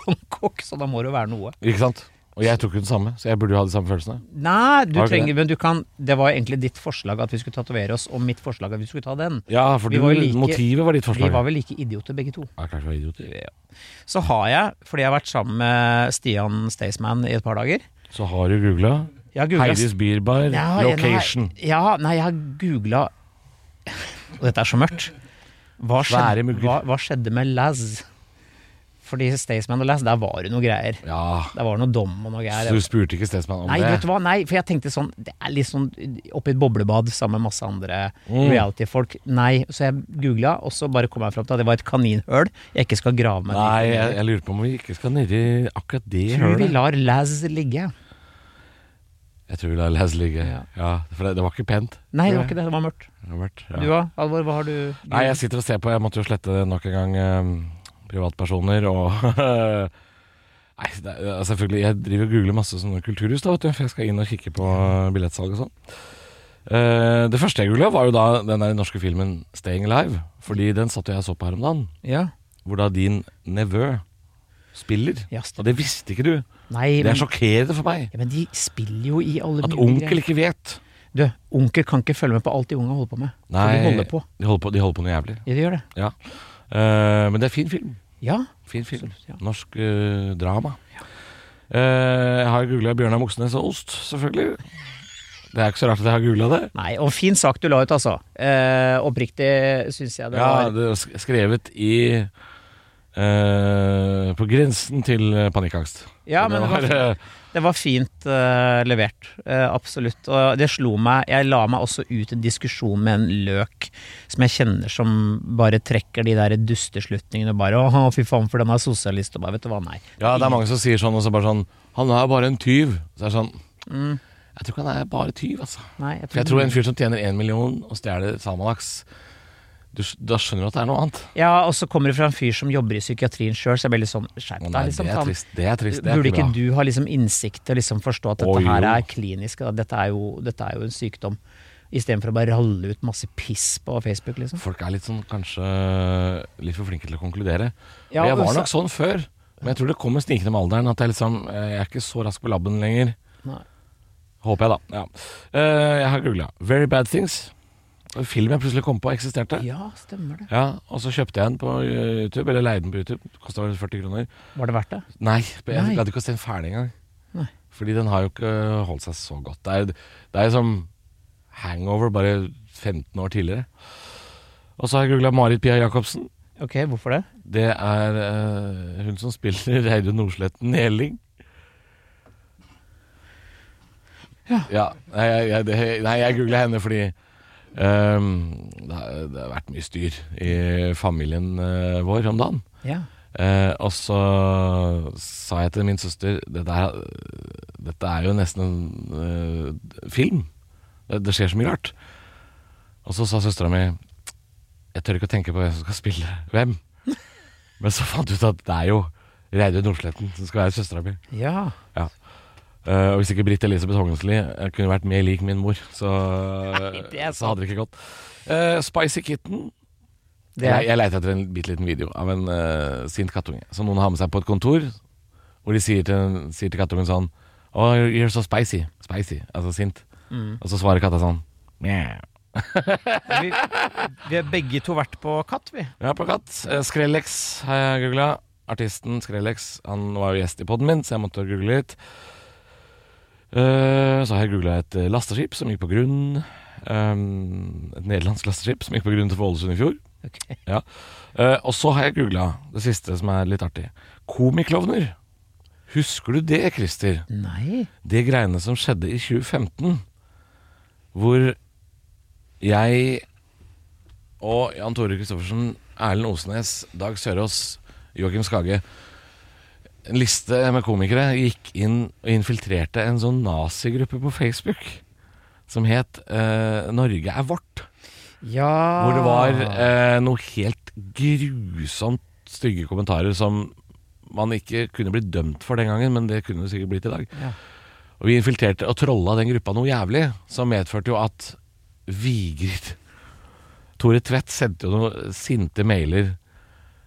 [SPEAKER 2] Bangkok, så da må det jo være noe.
[SPEAKER 3] ikke sant? Og jeg tok jo den samme, så jeg burde jo ha de samme følelsene.
[SPEAKER 2] Nei, du
[SPEAKER 3] Har ikke
[SPEAKER 2] trenger, men du kan Det var egentlig ditt forslag at vi skulle tatovere oss, og mitt forslag at vi skulle ta den.
[SPEAKER 3] Ja, for
[SPEAKER 2] Vi
[SPEAKER 3] du,
[SPEAKER 2] var jo like-
[SPEAKER 3] motivet var ditt
[SPEAKER 2] Vi
[SPEAKER 3] forslag.
[SPEAKER 2] var vel like idioter begge to.
[SPEAKER 3] Ja, klart vi var idioter.
[SPEAKER 2] Så har jeg, fordi jeg har vært sammen med Stian Staysman i et par dager
[SPEAKER 3] Så har du googla
[SPEAKER 2] Jeg har googlet-
[SPEAKER 3] Heidis Bierbar
[SPEAKER 2] Ja, jeg-
[SPEAKER 3] location.
[SPEAKER 2] Nei, ja, nei, jeg har googla Og dette er så mørkt. Hva
[SPEAKER 3] Svære
[SPEAKER 2] skjedde,
[SPEAKER 3] mugger.
[SPEAKER 2] hva, hva skjedde med Laz? Fordi Staysman og Laz, der var det noe greier.
[SPEAKER 3] Ja,
[SPEAKER 2] Der var det noe dom og noe greier.
[SPEAKER 3] så du spurte ikke Staysman om
[SPEAKER 2] Nei, vet du
[SPEAKER 3] det?
[SPEAKER 2] hva? Nei, for jeg tenkte sånn Det er litt sånn oppi et boblebad sammen med masse andre reality-folk. Nei, så jeg googla, og så bare kom jeg fram til at det var et kaninhøl jeg ikke skal grave meg
[SPEAKER 3] Nei,
[SPEAKER 2] ned i.
[SPEAKER 3] jeg, jeg lurer på om vi ikke skal nedi akkurat det
[SPEAKER 2] Jeg tror vi
[SPEAKER 3] hølet.
[SPEAKER 2] lar Laz ligge.
[SPEAKER 3] Jeg tror vi lar Laz ligge.
[SPEAKER 2] Ja.
[SPEAKER 3] Ja, for det, det var ikke pent.
[SPEAKER 2] Nei, det var ikke det. Det var mørkt.
[SPEAKER 3] Det var mørkt, ja.
[SPEAKER 2] Du da, Alvor? Hva har du
[SPEAKER 3] Nei, jeg sitter og ser på. Jeg måtte jo slette nok en gang eh, privatpersoner og Nei, det, er- altså, selvfølgelig. Jeg driver og googler masse sånne kulturhus, da, vet du, for jeg skal inn og kikke på billettsalg og sånn. Eh, det første jeg googla, var jo da den der norske filmen 'Staying Alive'. Fordi den satt jo jeg og så på her om dagen.
[SPEAKER 2] Ja.
[SPEAKER 3] Hvor da din nevø spiller.
[SPEAKER 2] Ja,
[SPEAKER 3] Og
[SPEAKER 2] stemmer.
[SPEAKER 3] det visste ikke du.
[SPEAKER 2] Nei,
[SPEAKER 3] Det
[SPEAKER 2] men,
[SPEAKER 3] er sjokkerende for meg.
[SPEAKER 2] ja, men de spiller jo i alle
[SPEAKER 3] At
[SPEAKER 2] mulige
[SPEAKER 3] onkel
[SPEAKER 2] greier.
[SPEAKER 3] ikke vet.
[SPEAKER 2] Du, onkel kan ikke følge med på alt de unge holder på med. For
[SPEAKER 3] Nei.
[SPEAKER 2] de holder på.
[SPEAKER 3] De holder på, de holder på noe jævlig.
[SPEAKER 2] Ja, de gjør det.
[SPEAKER 3] Ja. Eh, men det er fin film.
[SPEAKER 2] Ja.
[SPEAKER 3] Fin film.
[SPEAKER 2] Absolutt, ja.
[SPEAKER 3] Norsk eh, drama. Eh, jeg har googla Bjørnar Moxnes og ost, selvfølgelig. Det er ikke så rart at jeg har googla det.
[SPEAKER 2] Nei, og fin sak du la ut, altså. Eh, oppriktig syns jeg det
[SPEAKER 3] Ja,
[SPEAKER 2] var.
[SPEAKER 3] det er sk- skrevet i eh, På grensen til eh, panikkangst.
[SPEAKER 2] Ja,
[SPEAKER 3] Så
[SPEAKER 2] men det var fint.
[SPEAKER 3] eh,
[SPEAKER 2] Det var fint eh, levert, eh, absolutt. Og det slo meg Jeg la meg også ut i en diskusjon med en løk som jeg kjenner som bare trekker de der dusteslutningene og bare Å, fy faen, for den er sosialist, og bare Vet du hva, nei.
[SPEAKER 3] ja, det er mange som sier sånn, og så bare sånn Han er bare en tyv. Så er det sånn
[SPEAKER 2] Mm.
[SPEAKER 3] Jeg tror ikke han er bare tyv, altså.
[SPEAKER 2] Nei, jeg
[SPEAKER 3] For jeg tror en fyr som tjener én million og stjeler Salmanaks du, s- Da skjønner du at det er noe annet.
[SPEAKER 2] Ja, og så kommer det fra en fyr som jobber i psykiatrien sjøl, så jeg blir litt sånn skjerp
[SPEAKER 3] Å
[SPEAKER 2] deg,
[SPEAKER 3] nei,
[SPEAKER 2] liksom.
[SPEAKER 3] det er
[SPEAKER 2] faen.
[SPEAKER 3] trist. Det er trist. Det er
[SPEAKER 2] Burde
[SPEAKER 3] ikke
[SPEAKER 2] ikke
[SPEAKER 3] bra.
[SPEAKER 2] du ha liksom innsikt til å liksom forstå at dette
[SPEAKER 3] Å,
[SPEAKER 2] her
[SPEAKER 3] jo.
[SPEAKER 2] er klinisk, da. dette er jo, dette er jo en sykdom, istedenfor å bare ralle ut masse piss på Facebook, liksom?
[SPEAKER 3] Folk er litt sånn kanskje litt for flinke til å konkludere.
[SPEAKER 2] Ja, altså-
[SPEAKER 3] Og jeg var
[SPEAKER 2] og så-
[SPEAKER 3] nok sånn før, men jeg tror det kommer snikende med alderen. At jeg liksom eh, Jeg er ikke så rask på labben lenger.
[SPEAKER 2] Nei.
[SPEAKER 3] Håper jeg, da. Ja. Eh, Jeg har googla 'Very Bad Things'. En film jeg plutselig kom på eksisterte. Ja.
[SPEAKER 2] Ja, stemmer det.
[SPEAKER 3] Og så kjøpte jeg den på eh, YouTube, eller leide den på YouTube. Kosta vel 40 kroner.
[SPEAKER 2] Var det verdt det?
[SPEAKER 3] Nei, jeg
[SPEAKER 2] Nei.
[SPEAKER 3] gadd ikke å se den ferdig engang.
[SPEAKER 2] Nei.
[SPEAKER 3] Fordi den har jo ikke holdt seg så godt. Det er, det er som hangover bare 15 år tidligere. Og så har jeg googla Marit Pia Jacobsen.
[SPEAKER 2] Ok, hvorfor det?
[SPEAKER 3] Det er eh, hun som spiller Reidun Nordsletten i Elling. Ja. Nei, jeg, jeg, det, nei, jeg googla henne fordi ehm, det, har, det har vært mye styr i familien eh, vår om dagen.
[SPEAKER 2] Ja.
[SPEAKER 3] Eh, og så sa jeg til min søster Dette er, dette er jo nesten en eh, film. Det, det skjer så mye rart. Og så sa søstera mi Jeg tør ikke å tenke på hvem som skal spille hvem. Men så fant jeg ut at det er jo Reidun Nordsletten som skal være søstera mi.
[SPEAKER 2] ja.
[SPEAKER 3] Ja. Eh, og hvis ikke Britt Elisabeth Hoggensli eh, kunne vært mer lik min mor, så,
[SPEAKER 2] det er
[SPEAKER 3] så hadde det ikke gått. Eh, Spicy Kitten
[SPEAKER 2] Det er,
[SPEAKER 3] jeg, jeg leter etter en bitte liten video av en eh, sint kattunge som noen har med seg på et kontor. Hvor de sier til, sier til kattungen sånn Oh, you're- you're so spicy. Spicy. Altså sint.
[SPEAKER 2] Mm.
[SPEAKER 3] Og så svarer katta sånn Mjau.
[SPEAKER 2] vi, vi har begge to vært på katt, vi.
[SPEAKER 3] Ja, plakat. Eh, Skrellex har jeg googla. Artisten Skrellex. Han var jo gjest i poden min, så jeg måtte google litt. Eh, så har jeg googla et eh, lasteskip som gikk på grunn. Um, et nederlandsk lasteskip som gikk på grunn til Ålesund i fjor.
[SPEAKER 2] Ok.
[SPEAKER 3] Ja. Eh, og så har jeg googla det siste som er litt artig. Komiklovner. Husker du det, Christer?
[SPEAKER 2] Nei.
[SPEAKER 3] Det greiene som skjedde i 2015, hvor jeg og Jan Tore Christoffersen, Erlend Osnes, Dag Sørås, Joakim Skage En liste med komikere gikk inn og infiltrerte en sånn nazigruppe på Facebook som het eh, 'Norge er vårt'.
[SPEAKER 2] Ja
[SPEAKER 3] Hvor
[SPEAKER 2] Ah.
[SPEAKER 3] det var eh, noe helt grusomt stygge kommentarer som man ikke kunne blitt dømt for den gangen, men det kunne det sikkert blitt i dag.
[SPEAKER 2] Ja.
[SPEAKER 3] Og vi infiltrerte og trolla den gruppa noe jævlig, som medførte jo at Vigrid Tore Tvedt sendte jo noen sinte mailer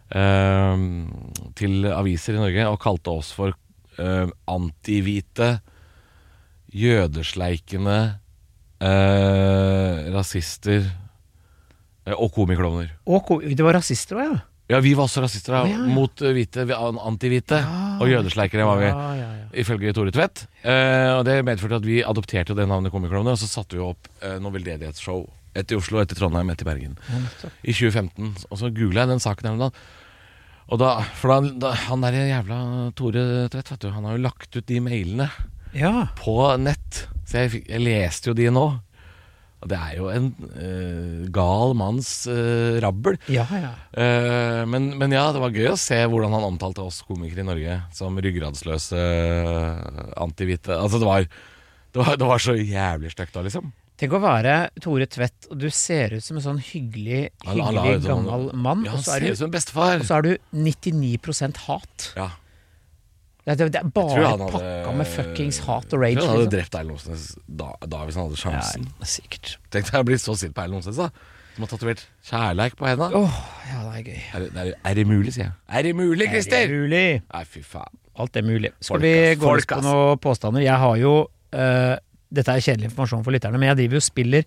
[SPEAKER 3] eh, til aviser i Norge og kalte oss for eh, antihvite, jødesleikende, eh, rasister eh, og komiklovner.
[SPEAKER 2] Og ko- det var rasister òg, ja.
[SPEAKER 3] Ja, vi var også rasister da,
[SPEAKER 2] Å, ja, ja.
[SPEAKER 3] mot eh, hvite, vi- an- antihvite
[SPEAKER 2] Ja.
[SPEAKER 3] og jødesleikere var vi.
[SPEAKER 2] Ja, ja, ja.
[SPEAKER 3] Ifølge Tore Tvedt. Eh, og det medførte at vi adopterte det navnet Komiklovner, og så satte vi opp eh, noe veldedighetsshow. Et i Oslo, et i Trondheim, et i Bergen. I 2015. Og så googla jeg den saken her om dagen. Og da, for da, da, han der jævla Tore Tvedt, vet du, han har jo lagt ut de mailene
[SPEAKER 2] ja.
[SPEAKER 3] på nett. Så jeg, fikk- jeg leste jo de nå. Og det er jo en eh, gal manns eh, rabbel.
[SPEAKER 2] Ja, ja.
[SPEAKER 3] Eh, men, men ja, det var gøy å se hvordan han omtalte oss komikere i Norge som ryggradsløse eh, antihvite. Altså, det var, det var, det var så jævlig stygt da, liksom.
[SPEAKER 2] Tenk å være Tore Tvedt, og du ser ut som en sånn hyggelig,
[SPEAKER 3] Han- han la
[SPEAKER 2] hyggelig
[SPEAKER 3] ut sånn-
[SPEAKER 2] gammel mann, Mm,
[SPEAKER 3] Ja,
[SPEAKER 2] og
[SPEAKER 3] han
[SPEAKER 2] så er
[SPEAKER 3] ser ut
[SPEAKER 2] du,
[SPEAKER 3] som en bestefar.
[SPEAKER 2] og så er du 99 hat.
[SPEAKER 3] Ja.
[SPEAKER 2] Det, er- det er
[SPEAKER 3] Tror
[SPEAKER 2] bare
[SPEAKER 3] han hadde-
[SPEAKER 2] pakka med fuckings hat og rage.
[SPEAKER 3] Tror han hadde
[SPEAKER 2] liksom.
[SPEAKER 3] drept Erlend Osnes da, da hvis han altså. hadde sjansen.
[SPEAKER 2] Ja, sikkert.
[SPEAKER 3] Tenk deg å bli så sint på Erlend Osnes, da. Som har tatovert kjærleik på henda.
[SPEAKER 2] Åh, ja, det er gøy.
[SPEAKER 3] Er, det- er, det- er det mulig, sier jeg. Er det mulig,
[SPEAKER 2] Er
[SPEAKER 3] Christer?
[SPEAKER 2] det mulig?
[SPEAKER 3] Nei, fy faen.
[SPEAKER 2] Alt er mulig. Skal
[SPEAKER 3] Folk,
[SPEAKER 2] vi
[SPEAKER 3] ass.
[SPEAKER 2] gå
[SPEAKER 3] Folk,
[SPEAKER 2] løs på
[SPEAKER 3] ass.
[SPEAKER 2] noen påstander? Jeg har jo eh, Dette er kjedelig informasjon for lytterne, men jeg driver jo og spiller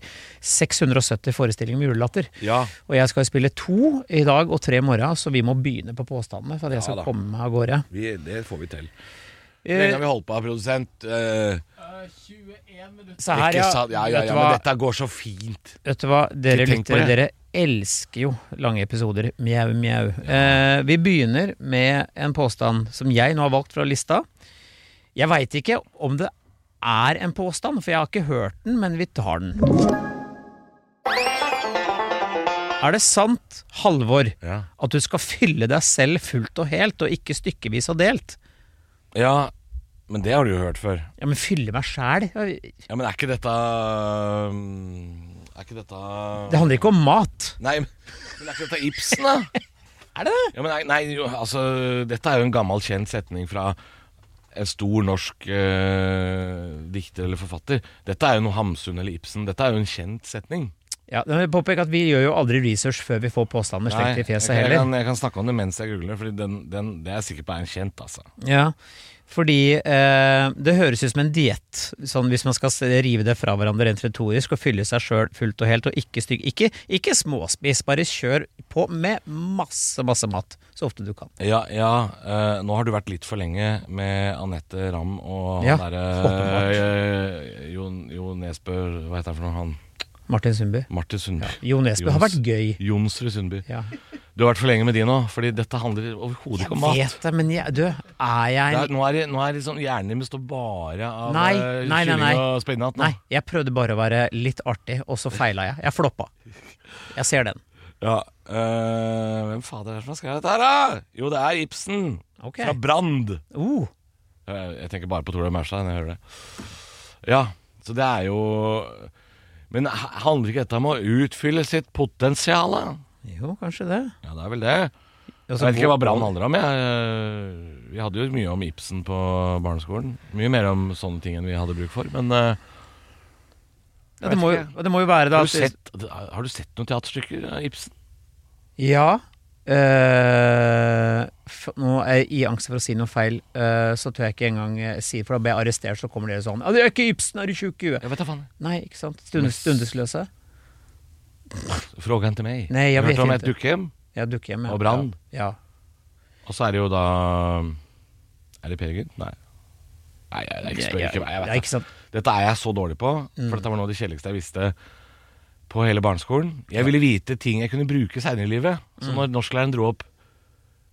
[SPEAKER 2] 670 forestillinger med julelatter.
[SPEAKER 3] Ja.
[SPEAKER 2] Og jeg skal spille to i dag og tre i morgen, så vi må begynne på påstandene for at jeg skal
[SPEAKER 3] da.
[SPEAKER 2] komme meg av gårde.
[SPEAKER 3] Vi, det får vi til. Hvor lenge har
[SPEAKER 2] Eh,
[SPEAKER 3] vi holdt på, produsent? Eh,
[SPEAKER 2] Se her,
[SPEAKER 3] ikke
[SPEAKER 2] ja.
[SPEAKER 3] sant? Ja, ja,
[SPEAKER 2] Vet
[SPEAKER 3] ja,
[SPEAKER 2] du hva?
[SPEAKER 3] men dette går så fint.
[SPEAKER 2] Vet du hva, dere
[SPEAKER 3] Ikke tenk på
[SPEAKER 2] lyttere,
[SPEAKER 3] det.
[SPEAKER 2] dere elsker jo lange episoder. Mjau, mjau. Eh, vi begynner med en påstand som jeg nå har valgt fra lista. Jeg veit ikke om det er en påstand, for jeg har ikke hørt den, men vi tar den. Er det sant, Halvor,
[SPEAKER 3] Ja.
[SPEAKER 2] at du skal fylle deg selv fullt og helt, og ikke stykkevis og delt?
[SPEAKER 3] ja, men det har du jo hørt før.
[SPEAKER 2] Ja, men fylle meg sjæl? Det
[SPEAKER 3] Ja, Men er ikke dette um, Er ikke dette
[SPEAKER 2] handler ikke om mat.
[SPEAKER 3] Nei, men men er ikke dette Ibsen, da?
[SPEAKER 2] Er det det?
[SPEAKER 3] Ja, men nei, nei jo, altså, Dette er jo en gammel, kjent setning fra en stor norsk eh, dikter eller forfatter. Dette er jo noe Hamsun eller Ibsen. Dette er jo en kjent setning.
[SPEAKER 2] Ja, men jeg påpeker at Vi gjør jo aldri research før vi får påstander slekt i fjeset
[SPEAKER 3] jeg, jeg,
[SPEAKER 2] heller.
[SPEAKER 3] kan, jeg kan snakke om det mens jeg googler, Fordi den, den, det er jeg sikker på er en kjent. altså
[SPEAKER 2] Ja, fordi eh, det høres ut som en diett, sånn hvis man skal se- rive det fra hverandre rent retorisk og fylle seg sjøl fullt og helt og ikke stygg. Ikke, ikke småspis, bare kjør på med masse, masse mat så ofte du kan.
[SPEAKER 3] Ja, ja eh, nå har du vært litt for lenge med Anette Ramm og han
[SPEAKER 2] Ja,
[SPEAKER 3] derre eh, Jo, jo Nesbø Hva heter han for noe? Han
[SPEAKER 2] Martin Sundby.
[SPEAKER 3] Martin Sundby.
[SPEAKER 2] Jo Nesbø har
[SPEAKER 3] Jons-
[SPEAKER 2] vært gøy.
[SPEAKER 3] Jonsrud Sundby.
[SPEAKER 2] Ja.
[SPEAKER 3] Du har vært for lenge med de nå, fordi dette handler overhodet
[SPEAKER 2] Jeg
[SPEAKER 3] ikke om mat.
[SPEAKER 2] vet det, men jeg, du, er
[SPEAKER 3] Det
[SPEAKER 2] jeg
[SPEAKER 3] er, nå er, det- nå er liksom hjernen din består bare av
[SPEAKER 2] Nei,
[SPEAKER 3] eh,
[SPEAKER 2] nei, nei, nei.
[SPEAKER 3] kylling og spinat. nå.
[SPEAKER 2] Nei, jeg prøvde bare å være litt artig, og så feila jeg. Jeg floppa. Jeg ser den.
[SPEAKER 3] Ja, eh, hvem fader er det som har skrevet dette her, da? Jo, det er Ibsen.
[SPEAKER 2] Ok.
[SPEAKER 3] Fra Brand.
[SPEAKER 2] Uh,
[SPEAKER 3] Jeg jeg tenker bare på Tora Mærstad når jeg hører det. Ja, så det er jo Men h- handler ikke dette om å utfylle sitt potensial? da?
[SPEAKER 2] jo, kanskje det.
[SPEAKER 3] Ja, det er vel det.
[SPEAKER 2] Altså,
[SPEAKER 3] Jeg vet ikke hva Brann handler om. Jeg. Vi hadde jo mye om Ibsen på barneskolen. Mye mer om sånne ting enn vi hadde bruk for. Men eh,
[SPEAKER 2] Ja, det, må, jo- det må jo være da
[SPEAKER 3] har, du
[SPEAKER 2] at-
[SPEAKER 3] sett, har du sett noen teaterstykker av Ibsen?
[SPEAKER 2] Ja. eh, f- nå er jeg i angst for å si noe feil, eh, så tør jeg ikke engang eh, si for da blir jeg arrestert, så kommer dere sånn «Ja, 'Det er ikke Ibsen, er du tjukk i huet?'
[SPEAKER 3] Jeg vet da faen.
[SPEAKER 2] Nei, ikke sant? Stundes, stundesløse.
[SPEAKER 3] Frågan til meg.
[SPEAKER 2] Nei, jeg vet
[SPEAKER 3] Hørte om
[SPEAKER 2] ikke.
[SPEAKER 3] et dukkehjem?
[SPEAKER 2] Jeg dukker hjem. ja.
[SPEAKER 3] Og Brann.
[SPEAKER 2] Ja.
[SPEAKER 3] Og så er det jo da Er det Peer Gynt? Nei. Nei, jeg, jeg, jeg spør ikke meg.
[SPEAKER 2] Ja,
[SPEAKER 3] Jeg vet
[SPEAKER 2] ikke sant?
[SPEAKER 3] det. Dette er jeg så dårlig på, for dette var noe av det kjedeligste jeg visste på hele barneskolen. Jeg ville vite ting jeg kunne bruke seinere i livet. Så når norsklæreren dro opp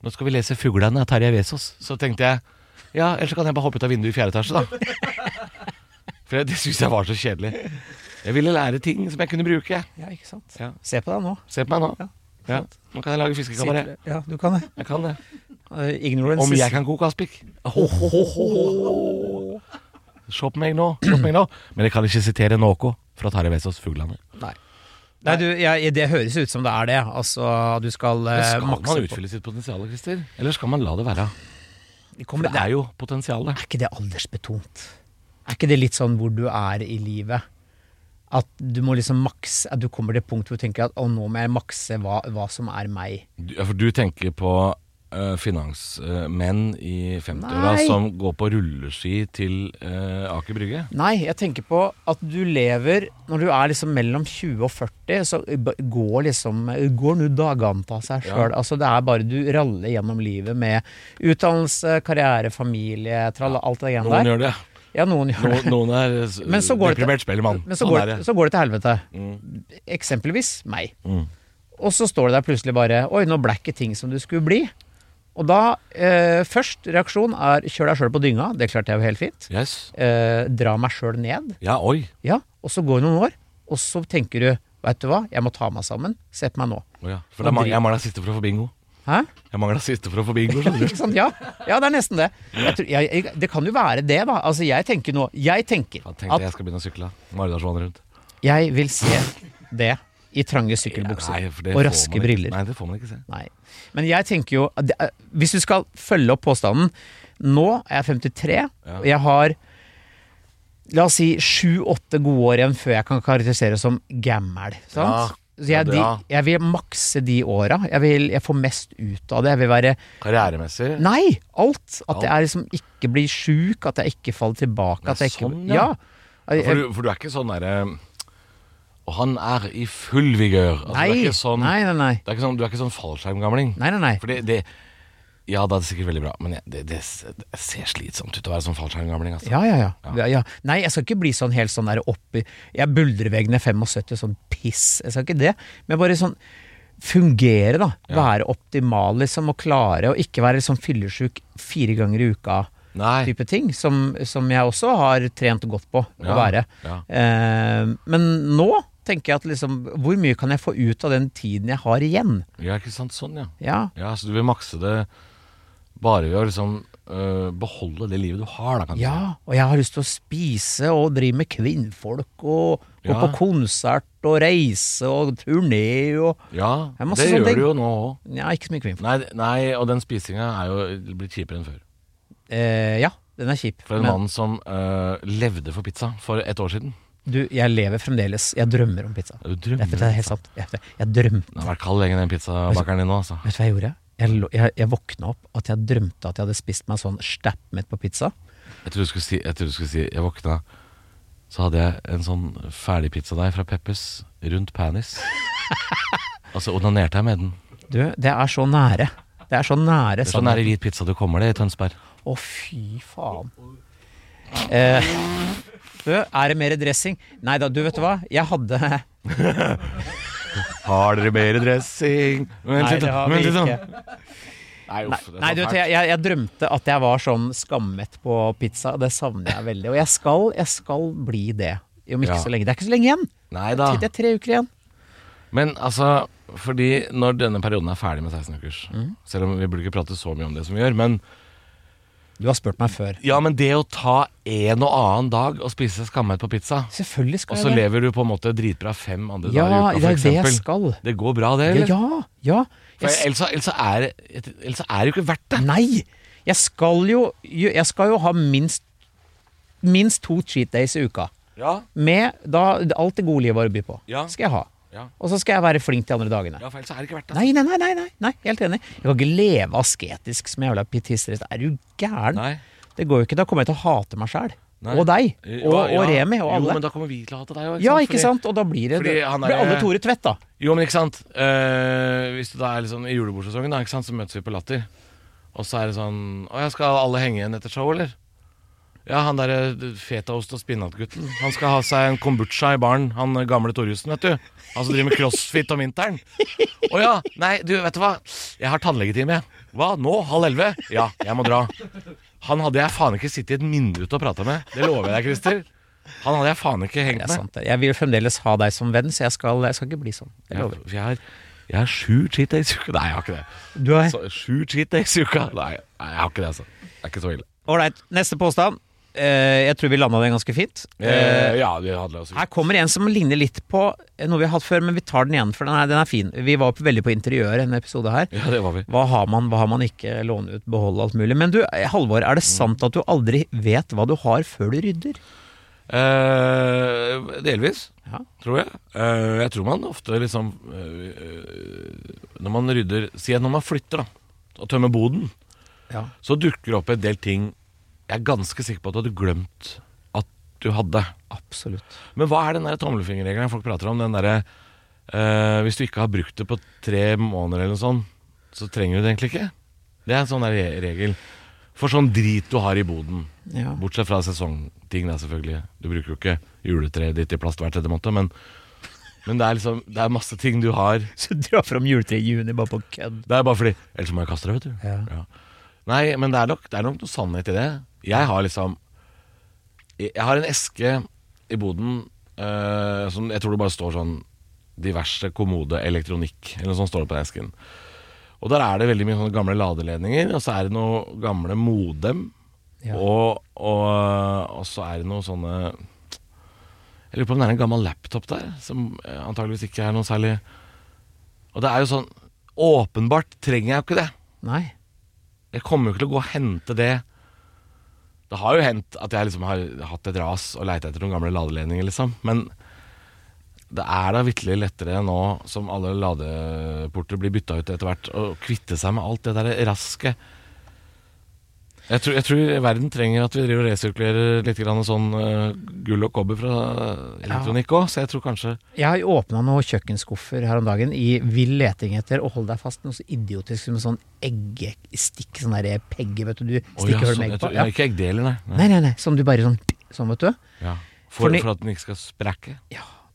[SPEAKER 3] Nå skal vi lese 'Fuglene' av Terje Vesaas, så tenkte jeg ja, ellers så kan jeg bare hoppe ut av vinduet i fjerde etasje, da. For det syns jeg var så kjedelig. Jeg ville lære ting som jeg kunne bruke.
[SPEAKER 2] Ja, ikke sant?
[SPEAKER 3] Ja.
[SPEAKER 2] Se på deg nå.
[SPEAKER 3] Se på meg nå.
[SPEAKER 2] Ja,
[SPEAKER 3] Ja. Nå kan jeg lage
[SPEAKER 2] Sitter-
[SPEAKER 3] fiskekabaret.
[SPEAKER 2] Ja, du kan det.
[SPEAKER 3] Jeg kan det.
[SPEAKER 2] Eh, Ignorance
[SPEAKER 3] Om
[SPEAKER 2] is-
[SPEAKER 3] jeg kan koke aspik? Se på meg nå, se på meg nå. Men jeg kan ikke sitere noe fra Tarjei Vesaas' 'Fuglene'.
[SPEAKER 2] Nei. Nei, du, jeg, det høres ut som det er det. Altså, du skal,
[SPEAKER 3] Men
[SPEAKER 2] eh,
[SPEAKER 3] Skal man
[SPEAKER 2] makse på-
[SPEAKER 3] utfylle sitt potensial, Christer? Eller skal man la det være?
[SPEAKER 2] Det
[SPEAKER 3] For
[SPEAKER 2] kommer-
[SPEAKER 3] det er jo potensialet.
[SPEAKER 2] Er ikke det aldersbetont? Er ikke det litt sånn hvor du er i livet? At du må liksom makse At du kommer til et punkt hvor du tenker at å, nå må jeg makse hva, hva som er meg.
[SPEAKER 3] Du, ja, for du tenker på eh, finansmenn i 50-åra
[SPEAKER 2] Nei.
[SPEAKER 3] som går på rulleski til eh, Aker Brygge.
[SPEAKER 2] Nei, jeg tenker på at du lever Når du er liksom mellom 20 og 40, så b- går liksom Går nå dagene av seg sjøl. Altså, det er bare du raller gjennom livet med utdannelse, karriere, familie, trall, alt det
[SPEAKER 3] Noen
[SPEAKER 2] greiene der.
[SPEAKER 3] gjør det.
[SPEAKER 2] Ja, noen gjør det.
[SPEAKER 3] Noen, noen er s-
[SPEAKER 2] Men så går det til-
[SPEAKER 3] deprimert spellemann.
[SPEAKER 2] Men så
[SPEAKER 3] Sånn
[SPEAKER 2] går,
[SPEAKER 3] er det.
[SPEAKER 2] så går det til helvete.
[SPEAKER 3] Mm.
[SPEAKER 2] Eksempelvis meg.
[SPEAKER 3] Mm.
[SPEAKER 2] Og så står det der plutselig bare Oi, nå ble ikke ting som du skulle bli. Og da eh, Først reaksjon er kjør deg sjøl på dynga. Det klarte jeg jo helt fint.
[SPEAKER 3] Yes.
[SPEAKER 2] Eh, dra meg sjøl ned.
[SPEAKER 3] Ja, oi.
[SPEAKER 2] Ja, og så går det noen år, og så tenker du Vet du hva, jeg må ta meg sammen. Se på meg nå.
[SPEAKER 3] Å ja.
[SPEAKER 2] Sånn
[SPEAKER 3] For det er mange, jeg mangla siste for å få bingo.
[SPEAKER 2] Hæ?
[SPEAKER 3] Jeg mangla siste for å få bingo, skjønner du.
[SPEAKER 2] Ikke sant? Ja, ja det er nesten det. Jeg tror, jeg, jeg, det kan jo være det, da. Altså, jeg tenker nå Jeg tenker
[SPEAKER 3] Da tenkte jeg
[SPEAKER 2] at
[SPEAKER 3] jeg skal begynne å sykle. Maridalsvann rundt.
[SPEAKER 2] jeg vil se det i trange sykkelbukser
[SPEAKER 3] Nei, for det
[SPEAKER 2] og
[SPEAKER 3] får
[SPEAKER 2] raske
[SPEAKER 3] man ikke-
[SPEAKER 2] briller.
[SPEAKER 3] Nei, det får man ikke se.
[SPEAKER 2] Nei. Men jeg tenker jo at det er- Hvis du skal følge opp påstanden Nå er jeg 53,
[SPEAKER 3] Ja.
[SPEAKER 2] og jeg har La oss si sju-åtte gode år igjen før jeg kan karakterisere som gammel. Sant?
[SPEAKER 3] Ja,
[SPEAKER 2] Så jeg,
[SPEAKER 3] ja, det-
[SPEAKER 2] de,
[SPEAKER 3] ja.
[SPEAKER 2] jeg vil makse de åra. Jeg vil jeg får mest ut av det. Jeg vil være
[SPEAKER 3] Karrieremessig
[SPEAKER 2] Nei! Alt! At jeg
[SPEAKER 3] Ja.
[SPEAKER 2] er liksom ikke blir sjuk, at jeg ikke faller tilbake. At
[SPEAKER 3] Ja,
[SPEAKER 2] jeg ikke,
[SPEAKER 3] sånn,
[SPEAKER 2] ja.
[SPEAKER 3] ja. for, du, for du er ikke sånn derre Og han er i full vigør. Altså,
[SPEAKER 2] Nei,
[SPEAKER 3] du er ikke sånn,
[SPEAKER 2] nei, nei, nei.
[SPEAKER 3] Det er ikke sånn, du er ikke sånn fallskjermgamling.
[SPEAKER 2] Nei, nei, nei.
[SPEAKER 3] For det, det Ja, det er sikkert veldig bra, men jeg- det, det, s- det ser slitsomt ut å være sånn fallskjermgamling. Altså.
[SPEAKER 2] Ja, ja, ja. ja. Nei, jeg skal ikke bli sånn helt sånn der oppi Jeg buldrer veggene 75 og sånn piss. Jeg skal ikke det. Men bare sånn fungere, da. Være optimal, liksom, og klare. Og ikke være sånn fyllesyk fire ganger i uka.
[SPEAKER 3] Nei.
[SPEAKER 2] Type ting som, som jeg også har trent godt på å
[SPEAKER 3] Ja,
[SPEAKER 2] være.
[SPEAKER 3] ja.
[SPEAKER 2] Eh, men nå tenker jeg at liksom Hvor mye kan jeg få ut av den tiden jeg har igjen?
[SPEAKER 3] Ja, ikke sant. Sånn, ja.
[SPEAKER 2] Ja.
[SPEAKER 3] Ja, Så du vil makse det bare ved å liksom øh, beholde det livet du har, da, kan du si.
[SPEAKER 2] Ja, og jeg har lyst til å spise og drive med kvinnfolk og gå
[SPEAKER 3] Ja.
[SPEAKER 2] på konsert og reise og turné og
[SPEAKER 3] Ja,
[SPEAKER 2] Det er masse
[SPEAKER 3] det
[SPEAKER 2] sånne
[SPEAKER 3] gjør
[SPEAKER 2] ting.
[SPEAKER 3] du jo nå òg.
[SPEAKER 2] Nei, ikke så mye kvinnfolk.
[SPEAKER 3] Nei, nei, og den spisinga er jo blitt kjipere enn før.
[SPEAKER 2] Eh, ja, den er kjip.
[SPEAKER 3] For en mann som øh, levde for pizza for et år siden.
[SPEAKER 2] du, jeg lever fremdeles. Jeg drømmer om pizza.
[SPEAKER 3] Du
[SPEAKER 2] Det
[SPEAKER 3] drømmer
[SPEAKER 2] er, det er helt sant. Jeg, jeg drømte
[SPEAKER 3] Den har vært kald lenge, den pizzabakeren din nå, altså.
[SPEAKER 2] Vet du hva jeg gjorde? Jeg, lå- jeg, jeg våkna opp at jeg drømte at jeg hadde spist meg sånn stappmett på pizza.
[SPEAKER 3] Jeg trodde du skulle si Jeg, trodde du skulle si, jeg våkna Så hadde jeg en sånn ferdigpizzadeig fra Peppes rundt penis. Altså onanerte jeg med den.
[SPEAKER 2] Du, det er så nære. Det er så nære.
[SPEAKER 3] Det er sånn
[SPEAKER 2] sannheten.
[SPEAKER 3] nære hvit pizza du kommer det i Tønsberg.
[SPEAKER 2] Å, fy faen. Eh, du, er det mer dressing? Nei da, du vet du hva? Jeg hadde
[SPEAKER 3] Har dere mer dressing? Vent
[SPEAKER 2] Nei,
[SPEAKER 3] litt,
[SPEAKER 2] det
[SPEAKER 3] da,
[SPEAKER 2] har vi
[SPEAKER 3] vent litt, da.
[SPEAKER 2] ikke.
[SPEAKER 3] Nei, uff, det er
[SPEAKER 2] Nei, du vet,
[SPEAKER 3] så fælt.
[SPEAKER 2] jeg, jeg, jeg drømte at jeg var sånn skammett på pizza, og det savner jeg veldig. Og jeg skal, jeg skal bli det. Om ikke
[SPEAKER 3] Ja.
[SPEAKER 2] så lenge. Det er ikke så lenge igjen.
[SPEAKER 3] Nei
[SPEAKER 2] Det
[SPEAKER 3] da.
[SPEAKER 2] er tre uker igjen.
[SPEAKER 3] Men altså, fordi når denne perioden er ferdig med 16 ukers
[SPEAKER 2] Mm.
[SPEAKER 3] Selv om vi burde ikke prate så mye om det som vi gjør, men
[SPEAKER 2] Du har spurt meg før.
[SPEAKER 3] Ja, men det å ta en og annen dag og spise skammet på pizza
[SPEAKER 2] Selvfølgelig
[SPEAKER 3] Og
[SPEAKER 2] skal
[SPEAKER 3] så
[SPEAKER 2] jeg det.
[SPEAKER 3] lever du på en måte dritbra fem andre
[SPEAKER 2] Ja,
[SPEAKER 3] dager i uka,
[SPEAKER 2] det
[SPEAKER 3] for
[SPEAKER 2] er det jeg
[SPEAKER 3] eksempel.
[SPEAKER 2] skal.
[SPEAKER 3] Det går bra, det,
[SPEAKER 2] Ja,
[SPEAKER 3] eller?
[SPEAKER 2] ja. ja.
[SPEAKER 3] For
[SPEAKER 2] Jeg, s-
[SPEAKER 3] ellers, så- ellers, så er, det- ellers så er det jo ikke verdt det.
[SPEAKER 2] nei! Jeg skal jo, jeg skal jo ha minst, minst to cheat days i uka.
[SPEAKER 3] Ja,
[SPEAKER 2] Med da, alt det gode livet har å by på.
[SPEAKER 3] Ja.
[SPEAKER 2] Skal jeg ha.
[SPEAKER 3] Ja.
[SPEAKER 2] Og så skal jeg være flink de andre dagene.
[SPEAKER 3] for ellers så er det ikke verdt det.
[SPEAKER 2] Nei, nei, nei, nei, nei, nei, helt enig. Jeg kan ikke leve asketisk som jævla pietistrist. Er du gæren?
[SPEAKER 3] Nei.
[SPEAKER 2] Det går jo ikke. Da kommer jeg til å hate meg sjæl.
[SPEAKER 3] Nei.
[SPEAKER 2] Og deg.
[SPEAKER 3] Ja,
[SPEAKER 2] Og,
[SPEAKER 3] ja.
[SPEAKER 2] og Remi. Og
[SPEAKER 3] Jo,
[SPEAKER 2] alle.
[SPEAKER 3] men da kommer vi til å hate deg òg.
[SPEAKER 2] ja, ikke sant? Og da blir det,
[SPEAKER 3] fordi han er-
[SPEAKER 2] blir alle Tore Tvedt, da.
[SPEAKER 3] Jo, men ikke sant Eh, Hvis det da er litt sånn i julebordsesongen da, ikke sant, Så møtes vi på latter Og så er det sånn Å, ja, skal alle henge igjen etter show, eller? Ja, han der eh, fetaost og spinatgutten Han skal ha seg en kombucha i baren Han eh, gamle Torjussen, vet du Han som driver med crossfit om vinteren Å ja, nei, du, vet du hva Jeg har tannlegetime, jeg Hva, nå? Halv elve? Ja, jeg må dra Han hadde jeg faen ikke sittet i et mindre og pratet med Det lover jeg deg, Christer Han hadde jeg faen ikke hengt
[SPEAKER 2] Det
[SPEAKER 3] med
[SPEAKER 2] er sant. det. Jeg vil fremdeles ha deg som venn, så jeg skal, jeg skal ikke bli sånn. Jeg
[SPEAKER 3] jeg,
[SPEAKER 2] lover.
[SPEAKER 3] jeg, har, jeg har sju cheat days i uka. Nei, jeg har ikke det.
[SPEAKER 2] Du er
[SPEAKER 3] Så, sju cheat days i uka? Nei, nei, jeg har ikke det, altså. Det er ikke så ille.
[SPEAKER 2] Ålreit. Neste påstand. Eh, jeg tror vi landa den ganske fint. Eh,
[SPEAKER 3] Eh, ja, det handler også
[SPEAKER 2] Her kommer en som ligner litt på noe vi har hatt før, men vi tar den igjen, for den er, den er fin. Vi var på, veldig på interiør i en episode her.
[SPEAKER 3] Ja, det var vi.
[SPEAKER 2] Hva har man, hva har man ikke? Låne ut, beholde alt mulig. Men du, Halvor, er det
[SPEAKER 3] Mm.
[SPEAKER 2] sant at du aldri vet hva du har før du rydder?
[SPEAKER 3] Eh, delvis,
[SPEAKER 2] Ja.
[SPEAKER 3] tror jeg. Eh, jeg tror man ofte liksom eh, eh, Når man rydder Si at når man flytter, da. kjøpt og tømme boden,
[SPEAKER 2] Ja.
[SPEAKER 3] så dukker det opp en del ting jeg er ganske sikker på at du hadde glemt at du hadde.
[SPEAKER 2] Absolutt.
[SPEAKER 3] Men hva er den der tommelfingerregelen folk prater om? Den derre eh, Hvis du ikke har brukt det på tre måneder eller noe sånt, så trenger du det egentlig ikke. Det er en sånn der re- regel. For sånn drit du har i boden.
[SPEAKER 2] Ja.
[SPEAKER 3] Bortsett fra sesongting, da, selvfølgelig. Du bruker jo ikke juletreet ditt i plast hver tredje måned, men, men det er liksom Det er masse ting du har
[SPEAKER 2] Så dra fram juletreet i juni bare på kødd.
[SPEAKER 3] Det er bare fordi Ellers må jeg kaste det, vet du.
[SPEAKER 2] Ja.
[SPEAKER 3] Nei, men det er, nok, det er nok noe sannhet i det. Jeg har liksom Jeg jeg har en eske i boden eh, som jeg tror det bare står sånn diverse kommode elektronikk, eller noe sånt står det på den esken. Og der er det veldig mye sånne gamle ladeledninger, og så er det noe gamle modem.
[SPEAKER 2] Ja.
[SPEAKER 3] Og, og, og så er det noe sånne Jeg lurer på om det er en gammel laptop der, som eh, antageligvis ikke er noe særlig Og det er jo sånn Åpenbart trenger jeg jo ikke det.
[SPEAKER 2] Nei.
[SPEAKER 3] Jeg kommer jo ikke til å gå og hente det. Det har jo hendt at jeg liksom har hatt et ras og leita etter noen gamle ladeledninger, liksom. Men det er da vitterlig lettere nå som alle ladeporter blir bytta ut etter hvert, å kvitte seg med alt det der rasket. Jeg tror, jeg tror verden trenger at vi driver og resirkulerer litt grann sånn eh, gull og kobber fra eh, elektronikk òg, så jeg tror kanskje
[SPEAKER 2] Jeg har åpna noen kjøkkenskuffer her om dagen i vill leting etter og hold deg fast noe så idiotisk som en sånn eggestikk, sånn derre pegge, vet du. Du
[SPEAKER 3] Å, ja,
[SPEAKER 2] stikker hull
[SPEAKER 3] sånn,
[SPEAKER 2] med egg
[SPEAKER 3] jeg
[SPEAKER 2] på.
[SPEAKER 3] tror-
[SPEAKER 2] Ja.
[SPEAKER 3] ja, Ikke eggdeler, nei. nei.
[SPEAKER 2] Nei, nei, nei. Som du bare sånn Sånn, vet du.
[SPEAKER 3] Ja.
[SPEAKER 2] For
[SPEAKER 3] For,
[SPEAKER 2] ni-
[SPEAKER 3] for at den ikke skal sprekke.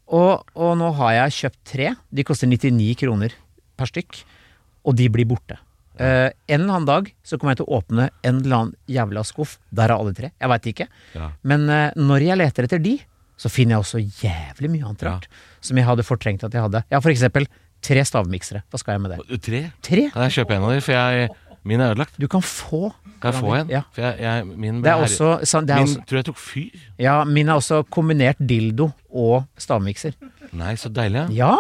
[SPEAKER 2] Og, og nå har jeg kjøpt tre. De koster 99 kroner per stykk. Og de blir borte. Eh, en eller annen dag så kommer jeg til å åpne en eller annen jævla skuff. Der er alle tre. Jeg veit ikke.
[SPEAKER 3] Ja.
[SPEAKER 2] Men eh, når jeg leter etter de, så finner jeg også jævlig mye annet
[SPEAKER 3] Ja.
[SPEAKER 2] rart. Som jeg hadde fortrengt at jeg hadde. Jeg har for eksempel tre stavmiksere. Hva skal jeg med det?
[SPEAKER 3] Tre?
[SPEAKER 2] Tre?
[SPEAKER 3] Kan jeg kjøpe en av de? For jeg, min er ødelagt.
[SPEAKER 2] Du kan få.
[SPEAKER 3] Kan jeg få en?
[SPEAKER 2] Ja.
[SPEAKER 3] For jeg, jeg, min
[SPEAKER 2] Det
[SPEAKER 3] ble
[SPEAKER 2] er
[SPEAKER 3] her-
[SPEAKER 2] også, sånn- det er
[SPEAKER 3] Min
[SPEAKER 2] også
[SPEAKER 3] tror jeg tok fyr.
[SPEAKER 2] Ja, min er også kombinert dildo og stavmikser.
[SPEAKER 3] Nei, så deilig.
[SPEAKER 2] Ja!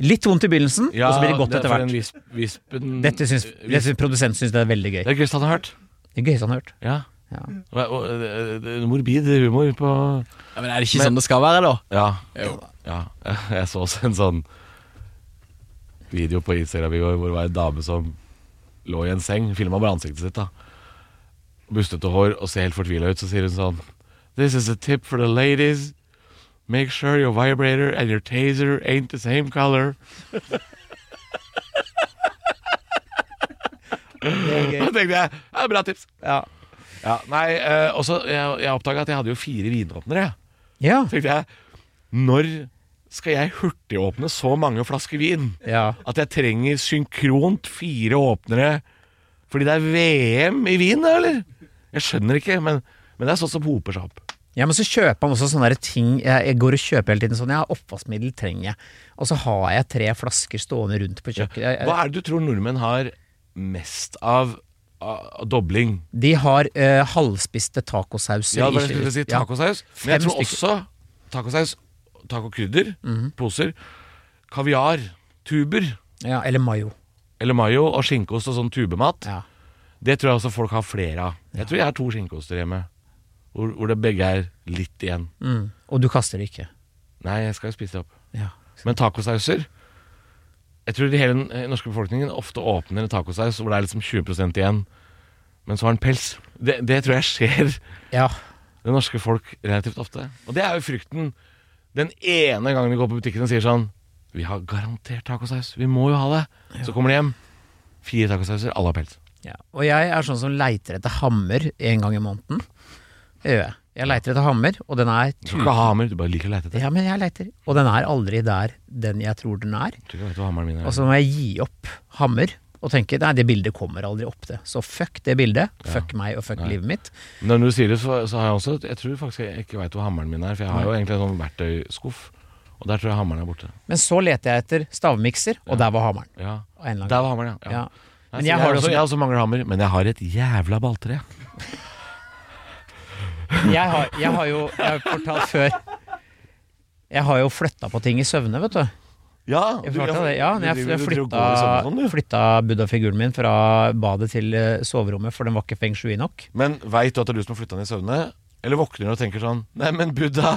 [SPEAKER 2] Litt vondt i begynnelsen, og så blir det godt
[SPEAKER 3] er
[SPEAKER 2] etter
[SPEAKER 3] for
[SPEAKER 2] hvert.
[SPEAKER 3] en Visp, vispen
[SPEAKER 2] Dette syns, dette syns produsenten syns det er veldig gøy.
[SPEAKER 3] Det er gøyest han har hørt.
[SPEAKER 2] Det er gøyeste han har hørt.
[SPEAKER 3] Ja.
[SPEAKER 2] Ja.
[SPEAKER 3] Og, og, det- det- morbid humor på
[SPEAKER 4] Ja, men er det ikke sånn det skal være, da?
[SPEAKER 3] Ja.
[SPEAKER 4] Jo.
[SPEAKER 3] ja. Jeg så også en sånn video på Instagram i går hvor det var en dame som lå i en seng, filma bare ansiktet sitt, da. Bustete hår og ser helt fortvila ut, så sier hun sånn This is a tip for the ladies. Make sure your vibrator and your taser ain't the same color. Da tenkte jeg, ja, bra tips.
[SPEAKER 2] Ja.
[SPEAKER 3] Ja, nei, eh, også, jeg, jeg oppdaga at jeg hadde jo fire vinåpnere. jeg.
[SPEAKER 2] Ja.
[SPEAKER 3] tenkte jeg, når skal jeg hurtigåpne så mange flasker vin
[SPEAKER 2] ja.
[SPEAKER 3] at jeg trenger synkront fire åpnere? Fordi det er VM i vin, da, eller? Jeg skjønner ikke, men, men det er sånt som hoper seg opp.
[SPEAKER 2] Ja, men så kjøper han også sånne der ting jeg, jeg går og kjøper hele tiden sånn Ja, oppvaskmiddel trenger jeg. Og så har jeg tre flasker stående rundt på kjøkkenet. Jeg- jeg-
[SPEAKER 3] Hva er det du tror nordmenn har mest av, av, av dobling?
[SPEAKER 2] De har eh, halvspiste tacosauser.
[SPEAKER 3] Ja,
[SPEAKER 2] i-
[SPEAKER 3] det var det jeg skulle si.
[SPEAKER 2] ja.
[SPEAKER 3] Tacosaus. Men jeg
[SPEAKER 2] Fem
[SPEAKER 3] tror også tacosaus, tacokrydder,
[SPEAKER 2] Mhm.
[SPEAKER 3] poser, kaviar, tuber
[SPEAKER 2] Ja, eller mayo.
[SPEAKER 3] eller mayo og skinkeost og sånn tubemat.
[SPEAKER 2] Ja.
[SPEAKER 3] Det tror jeg også folk har flere av. Jeg tror jeg har to skinkeoster hjemme, hvor, hvor det begge er litt igjen.
[SPEAKER 2] Mm. Og du kaster det ikke.
[SPEAKER 3] Nei, jeg skal jo spise det opp.
[SPEAKER 2] Ja.
[SPEAKER 3] Men tacosauser Jeg tror hele den eh, norske befolkningen ofte åpner en tacosaus hvor det er liksom 20 igjen, men så har den pels. Det, det tror jeg skjer
[SPEAKER 2] ja.
[SPEAKER 3] det norske folk relativt ofte. Og det er jo frykten den ene gangen de går på butikken og sier sånn Vi har garantert tacosaus. Vi må jo ha det. Så kommer de hjem. Fire tacosauser, alle har pels.
[SPEAKER 2] Ja. Og jeg er sånn som leiter etter hammer en gang i måneden. Det gjør jeg. Jeg leiter etter hammer, og den er
[SPEAKER 3] Du skal ikke ha hammer, du bare liker å lete etter.
[SPEAKER 2] Ja, men jeg leiter. Og den er aldri der den jeg tror den er.
[SPEAKER 3] Jeg tror ikke jeg vet hva hammeren min er.
[SPEAKER 2] Og så må jeg gi opp hammer og tenke nei, det bildet kommer aldri opp, det. Så fuck det bildet. Fuck meg og fuck livet mitt.
[SPEAKER 3] Men Når du sier det, så, så har jeg også Jeg tror faktisk jeg ikke veit hvor hammeren min er, for jeg har jo egentlig en sånn verktøyskuff, og der tror jeg hammeren er borte.
[SPEAKER 2] Men så leter jeg etter stavmikser, og der var hammeren.
[SPEAKER 3] Ja.
[SPEAKER 2] Av en eller annen
[SPEAKER 3] Der var hammeren,
[SPEAKER 2] grunn.
[SPEAKER 3] ja. ja.
[SPEAKER 2] Ja. Men
[SPEAKER 3] Nei, så
[SPEAKER 2] jeg har det
[SPEAKER 3] også,
[SPEAKER 2] også-
[SPEAKER 3] jeg også mangler hammer, men jeg har et jævla balltre.
[SPEAKER 2] Jeg har, jeg har jo jeg har jo fortalt før Jeg har jo flytta på ting i søvne, vet du.
[SPEAKER 3] Ja,
[SPEAKER 2] Jeg fortalte det, ja, når jeg fl- flytta,
[SPEAKER 3] flytta
[SPEAKER 2] flytta Buddha-figuren min fra badet til eh, soverommet, for den var ikke feng shui nok.
[SPEAKER 3] Men veit du at det er du som har flytta ned i søvne? Eller våkner du og tenker sånn Nei, men Buddha,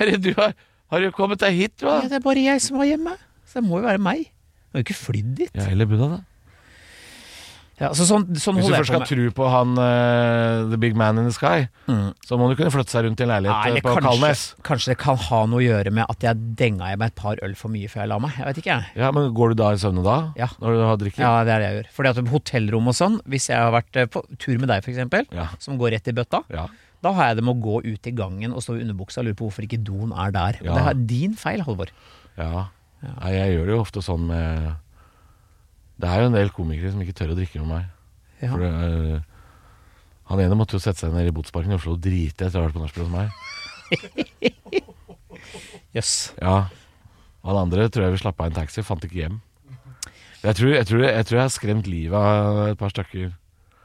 [SPEAKER 3] herre, du har, har jo kommet deg hit, du,
[SPEAKER 2] Ja,
[SPEAKER 3] da?
[SPEAKER 2] det er bare jeg som var hjemme, så det må jo være meg. Jeg har jo ikke flydd dit.
[SPEAKER 3] Ja, eller Buddha, da.
[SPEAKER 2] Ja, så sånn, sånn
[SPEAKER 3] Hvis du
[SPEAKER 2] holder
[SPEAKER 3] først
[SPEAKER 2] jeg på
[SPEAKER 3] skal
[SPEAKER 2] med.
[SPEAKER 3] tro på han eh, The Big Man in the Sky, så må du kunne flytte seg rundt i en
[SPEAKER 2] Mm. Nei,
[SPEAKER 3] leilighet
[SPEAKER 2] eller
[SPEAKER 3] eh, på Kalnes.
[SPEAKER 2] kanskje, kanskje det kan ha noe å gjøre med at jeg denga i meg et par øl for mye før jeg la meg. Jeg vet ikke, jeg.
[SPEAKER 3] Ja, men går du da i søvne da?
[SPEAKER 2] Ja.
[SPEAKER 3] Når du har drikket?
[SPEAKER 2] Ja, det er det jeg gjør. Fordi at på hotellrom og sånn, hvis jeg har vært eh, på tur med deg, for eksempel,
[SPEAKER 3] Ja.
[SPEAKER 2] som går rett i bøtta,
[SPEAKER 3] Ja.
[SPEAKER 2] da har jeg det med å gå ut i gangen og stå i underbuksa og lure på hvorfor ikke doen er der. Og
[SPEAKER 3] Ja.
[SPEAKER 2] Det er din feil, Halvor.
[SPEAKER 3] Ja. Nei, jeg gjør det jo ofte sånn med Det er jo en del komikere som ikke tør å drikke med meg.
[SPEAKER 2] Ja.
[SPEAKER 3] For det, er- eh, han ene måtte jo sette seg ned i Botsparken i Oslo og drite etter å ha vært på nachspiel hos meg.
[SPEAKER 2] Jøss.
[SPEAKER 3] Ja. Og han andre tror jeg vi slapp av en taxi, fant ikke hjem. Jeg tror jeg, tror, jeg, tror jeg har skremt livet av et par stykker.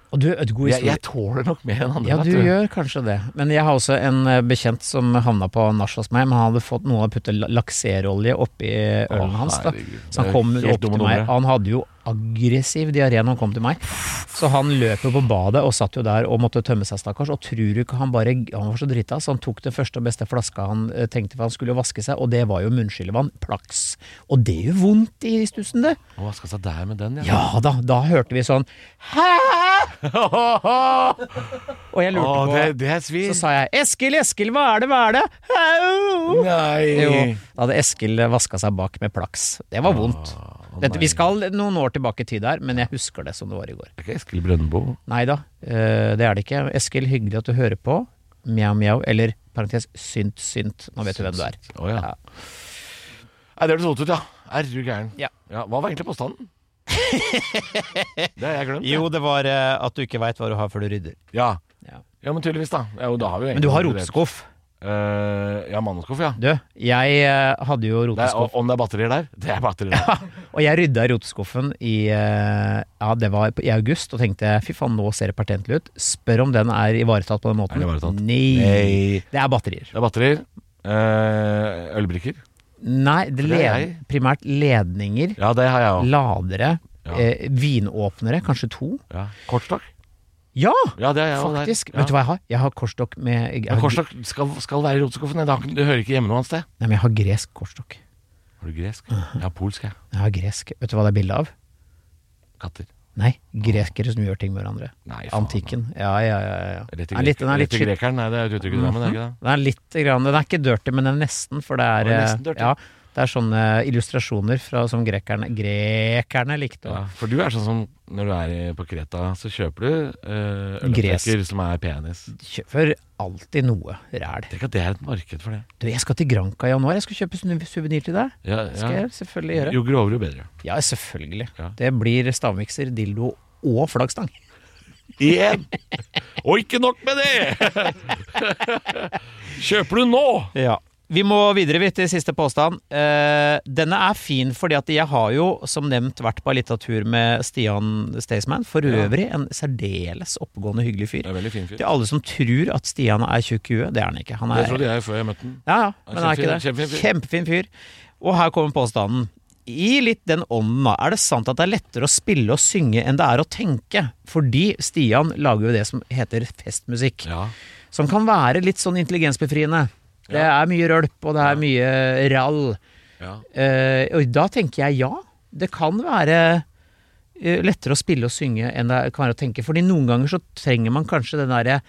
[SPEAKER 2] Og du, et god
[SPEAKER 3] Jeg,
[SPEAKER 2] historie.
[SPEAKER 3] jeg tåler nok mer enn andre.
[SPEAKER 2] Ja,
[SPEAKER 3] vet
[SPEAKER 2] du gjør kanskje det. Men jeg har også en eh, bekjent som havna på nach hos meg. Men han hadde fått noe å putte la- lakserolje oppi ølen
[SPEAKER 3] Å,
[SPEAKER 2] hans. Da.
[SPEAKER 3] herregud.
[SPEAKER 2] Så
[SPEAKER 3] Det
[SPEAKER 2] han
[SPEAKER 3] er
[SPEAKER 2] kom
[SPEAKER 3] helt
[SPEAKER 2] opp
[SPEAKER 3] dumme
[SPEAKER 2] til meg.
[SPEAKER 3] numre.
[SPEAKER 2] Han hadde jo aggressiv diaré når han kom til meg. Så han løp jo på badet og satt jo der og måtte tømme seg, stakkars. Og tror du ikke han bare Han var så drita, så han tok den første og beste flaska han eh, tenkte for han skulle jo vaske seg, og det var jo munnskyllevann. Plaks. Og det gjør vondt i stussen, det.
[SPEAKER 3] Å, vaska seg der med den, ja.
[SPEAKER 2] Ja da, da hørte vi sånn Hæ? Og jeg lurte
[SPEAKER 3] Å,
[SPEAKER 2] på
[SPEAKER 3] det, det er svir.
[SPEAKER 2] så sa jeg 'Eskil, Eskil, hva er det, hva er det?' Au!
[SPEAKER 3] Nei.
[SPEAKER 2] Jo, da hadde Eskil vaska seg bak med plaks. Det var vondt. Dette, vi skal noen år tilbake i tid her, men jeg husker det som det var i går.
[SPEAKER 3] Er ikke Eskil Brøndbo?
[SPEAKER 2] Nei da, eh, det er det ikke. Eskil, hyggelig at du hører på. Mjau, mjau. Eller parentes synt, synt. Nå vet du hvem du er.
[SPEAKER 3] Å ja.
[SPEAKER 2] Ja.
[SPEAKER 3] Nei, det hørtes vondt ut, ja. Er du gæren.
[SPEAKER 2] Ja.
[SPEAKER 3] Hva var egentlig påstanden? det har jeg glemt. ja.
[SPEAKER 4] Jo, det var eh, at du ikke veit hva du har før du rydder.
[SPEAKER 3] Ja.
[SPEAKER 2] Ja.
[SPEAKER 3] ja, men tydeligvis, da. Ja, jo, da har vi jo
[SPEAKER 2] Men du har
[SPEAKER 3] egentlig-
[SPEAKER 2] roteskuff.
[SPEAKER 3] Eh, ja, manneskuff, ja.
[SPEAKER 2] Du, jeg eh, hadde jo
[SPEAKER 3] Det er,
[SPEAKER 2] roteskuff.
[SPEAKER 3] om det er batterier der? Det er batterier der.
[SPEAKER 2] Og jeg rydda i roteskuffen i eh, Ja, det var i august, og tenkte fy faen, nå ser det pertentlig ut. Spør om den er ivaretatt på den måten.
[SPEAKER 3] Er det ivaretatt?
[SPEAKER 2] Nei.
[SPEAKER 3] Nei.
[SPEAKER 2] Det er batterier.
[SPEAKER 3] Det er batterier. Eh, ølbrikker.
[SPEAKER 2] Nei, det
[SPEAKER 3] For det er
[SPEAKER 2] led,
[SPEAKER 3] jeg.
[SPEAKER 2] primært ledninger,
[SPEAKER 3] Ja, det har jeg òg.
[SPEAKER 2] ladere,
[SPEAKER 3] Ja.
[SPEAKER 2] eh, vinåpnere, kanskje to.
[SPEAKER 3] Ja. Kortstokk.
[SPEAKER 2] Ja,
[SPEAKER 3] Ja, det har jeg også der.
[SPEAKER 2] faktisk!
[SPEAKER 3] Ja.
[SPEAKER 2] Vet du hva jeg har? Jeg har kortstokk med jeg
[SPEAKER 3] Men
[SPEAKER 2] har,
[SPEAKER 3] kortstokk skal, skal være i roteskuffen. Det, har ikke- det hører ikke hjemme noe annet sted.
[SPEAKER 2] Nei, men jeg har gresk kortstokk.
[SPEAKER 3] Har du gresk? Jeg har polsk, jeg.
[SPEAKER 2] Jeg har gresk. Vet du hva det er bilde av?
[SPEAKER 3] Katter.
[SPEAKER 2] Nei, grekere som gjør ting med hverandre.
[SPEAKER 3] Nei, faen.
[SPEAKER 2] Antikken. Ja, ja, ja. ja.
[SPEAKER 3] Rett i
[SPEAKER 2] Den er litt, den er litt Mm-hmm.
[SPEAKER 3] grek- rett i
[SPEAKER 2] skitten.
[SPEAKER 3] grekeren. Nei, det er et uttrykk i Drammen, er det ikke det?
[SPEAKER 2] Den Mhm. er litt grann, den er ikke dirty, men den er nesten, for det er,
[SPEAKER 3] Den er
[SPEAKER 2] eh,
[SPEAKER 3] nesten dirty.
[SPEAKER 2] ja, det er sånne illustrasjoner fra, som grekerne, grekerne likte.
[SPEAKER 3] Ja, for du er sånn som når du er i- på Kreta, så kjøper du uh, ølopprekker
[SPEAKER 2] Gresk.
[SPEAKER 3] som er penis.
[SPEAKER 2] Kjøper alltid noe ræl.
[SPEAKER 3] Tenk at det er et marked for det.
[SPEAKER 2] Du, jeg skal til Granca i januar, jeg skal kjøpe sunu- suvenir til deg.
[SPEAKER 3] Ja,
[SPEAKER 2] Det skal
[SPEAKER 3] ja.
[SPEAKER 2] jeg selvfølgelig gjøre.
[SPEAKER 3] Jo grovere, jo bedre.
[SPEAKER 2] Ja, selvfølgelig.
[SPEAKER 3] Ja.
[SPEAKER 2] Det blir stavmikser, dildo og flaggstang.
[SPEAKER 3] Igjen! Og ikke nok med det! Kjøper du nå?
[SPEAKER 2] Vi må videre vidt til siste påstand. Eh, denne er fin, fordi at jeg har jo som nevnt vært på en liten tur med Stian Staysman. For
[SPEAKER 3] Ja.
[SPEAKER 2] øvrig en særdeles oppegående, hyggelig fyr.
[SPEAKER 3] Det er veldig fin fyr.
[SPEAKER 2] Til alle som tror at Stian er tjukk i huet, det er han ikke. Han
[SPEAKER 3] Det
[SPEAKER 2] er,
[SPEAKER 3] trodde jeg før jeg møtte den.
[SPEAKER 2] ja, ja,
[SPEAKER 3] Han
[SPEAKER 2] men
[SPEAKER 3] er
[SPEAKER 2] han er ikke det.
[SPEAKER 3] kjempefin-
[SPEAKER 2] Kjempefin fyr. Og her kommer påstanden. I litt den ånden, da. Er det sant at det er lettere å spille og synge enn det er å tenke? Fordi Stian lager jo det som heter festmusikk.
[SPEAKER 3] Ja.
[SPEAKER 2] Som kan være litt sånn intelligensbefriende. Det
[SPEAKER 3] Ja.
[SPEAKER 2] er mye rølp, og det er mye rall.
[SPEAKER 3] ja.
[SPEAKER 2] Eh, og da tenker jeg ja, det kan være eh, lettere å spille og synge enn det kan være å tenke. Fordi noen ganger så trenger man kanskje den derre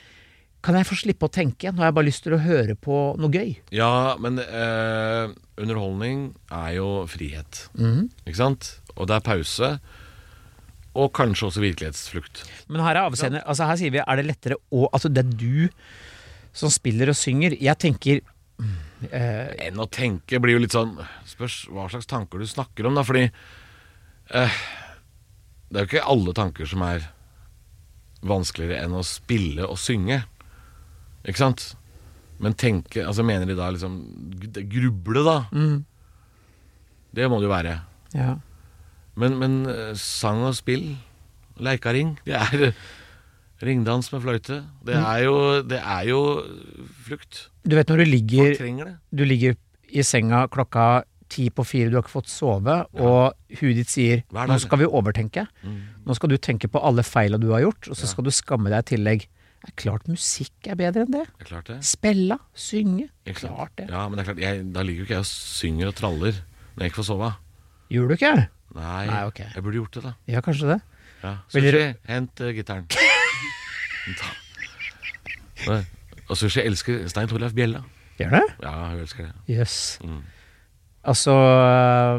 [SPEAKER 2] Kan jeg få slippe å tenke? Nå har jeg bare lyst til å høre på noe gøy.
[SPEAKER 3] ja, men eh, underholdning er jo frihet.
[SPEAKER 2] Mm-hmm.
[SPEAKER 3] Ikke sant? Og det er pause. Og kanskje også virkelighetsflukt.
[SPEAKER 2] Men her er avseende Altså her sier vi er det lettere å Altså det er du som spiller og synger. Jeg tenker
[SPEAKER 3] enn å tenke blir jo litt sånn Spørs hva slags tanker du snakker om, da. Fordi eh, det er jo ikke alle tanker som er vanskeligere enn å spille og synge. Ikke sant? Men tenke Altså mener de da liksom gr- Gruble, da. Det må det jo være.
[SPEAKER 2] Ja.
[SPEAKER 3] Men, men eh, sang og spill, leikaring, det er Ringdans med fløyte. Det er jo, det er jo flukt.
[SPEAKER 2] Du vet når du
[SPEAKER 3] Folk
[SPEAKER 2] ligger,
[SPEAKER 3] trenger det.
[SPEAKER 2] du ligger i senga klokka ti på fire, du har ikke fått sove, og huet ditt sier
[SPEAKER 3] Hver dag. Mm.
[SPEAKER 2] 'nå skal vi overtenke'. Nå skal du tenke på alle feila du har gjort, og så skal du skamme deg i tillegg. Det er klart musikk er bedre enn det.
[SPEAKER 3] Det er klart det.
[SPEAKER 2] Spella, synge.
[SPEAKER 3] Ikke sant?
[SPEAKER 2] Klart det.
[SPEAKER 3] Ja, men det er klart, jeg, da ligger jo ikke jeg og synger og traller når jeg ikke får sove.
[SPEAKER 2] Gjør du ikke?
[SPEAKER 3] Nei,
[SPEAKER 2] Nei, ok.
[SPEAKER 3] jeg burde gjort det, da.
[SPEAKER 2] Ja, kanskje det.
[SPEAKER 3] Ja.
[SPEAKER 2] Vil
[SPEAKER 3] Sushi, hent eh, gitaren. Ta- Nei. Og Sushi elsker Stein Torleif Bjella.
[SPEAKER 2] Gjør det?
[SPEAKER 3] Ja, hun elsker det.
[SPEAKER 2] Jøss.
[SPEAKER 3] Mm.
[SPEAKER 2] Altså,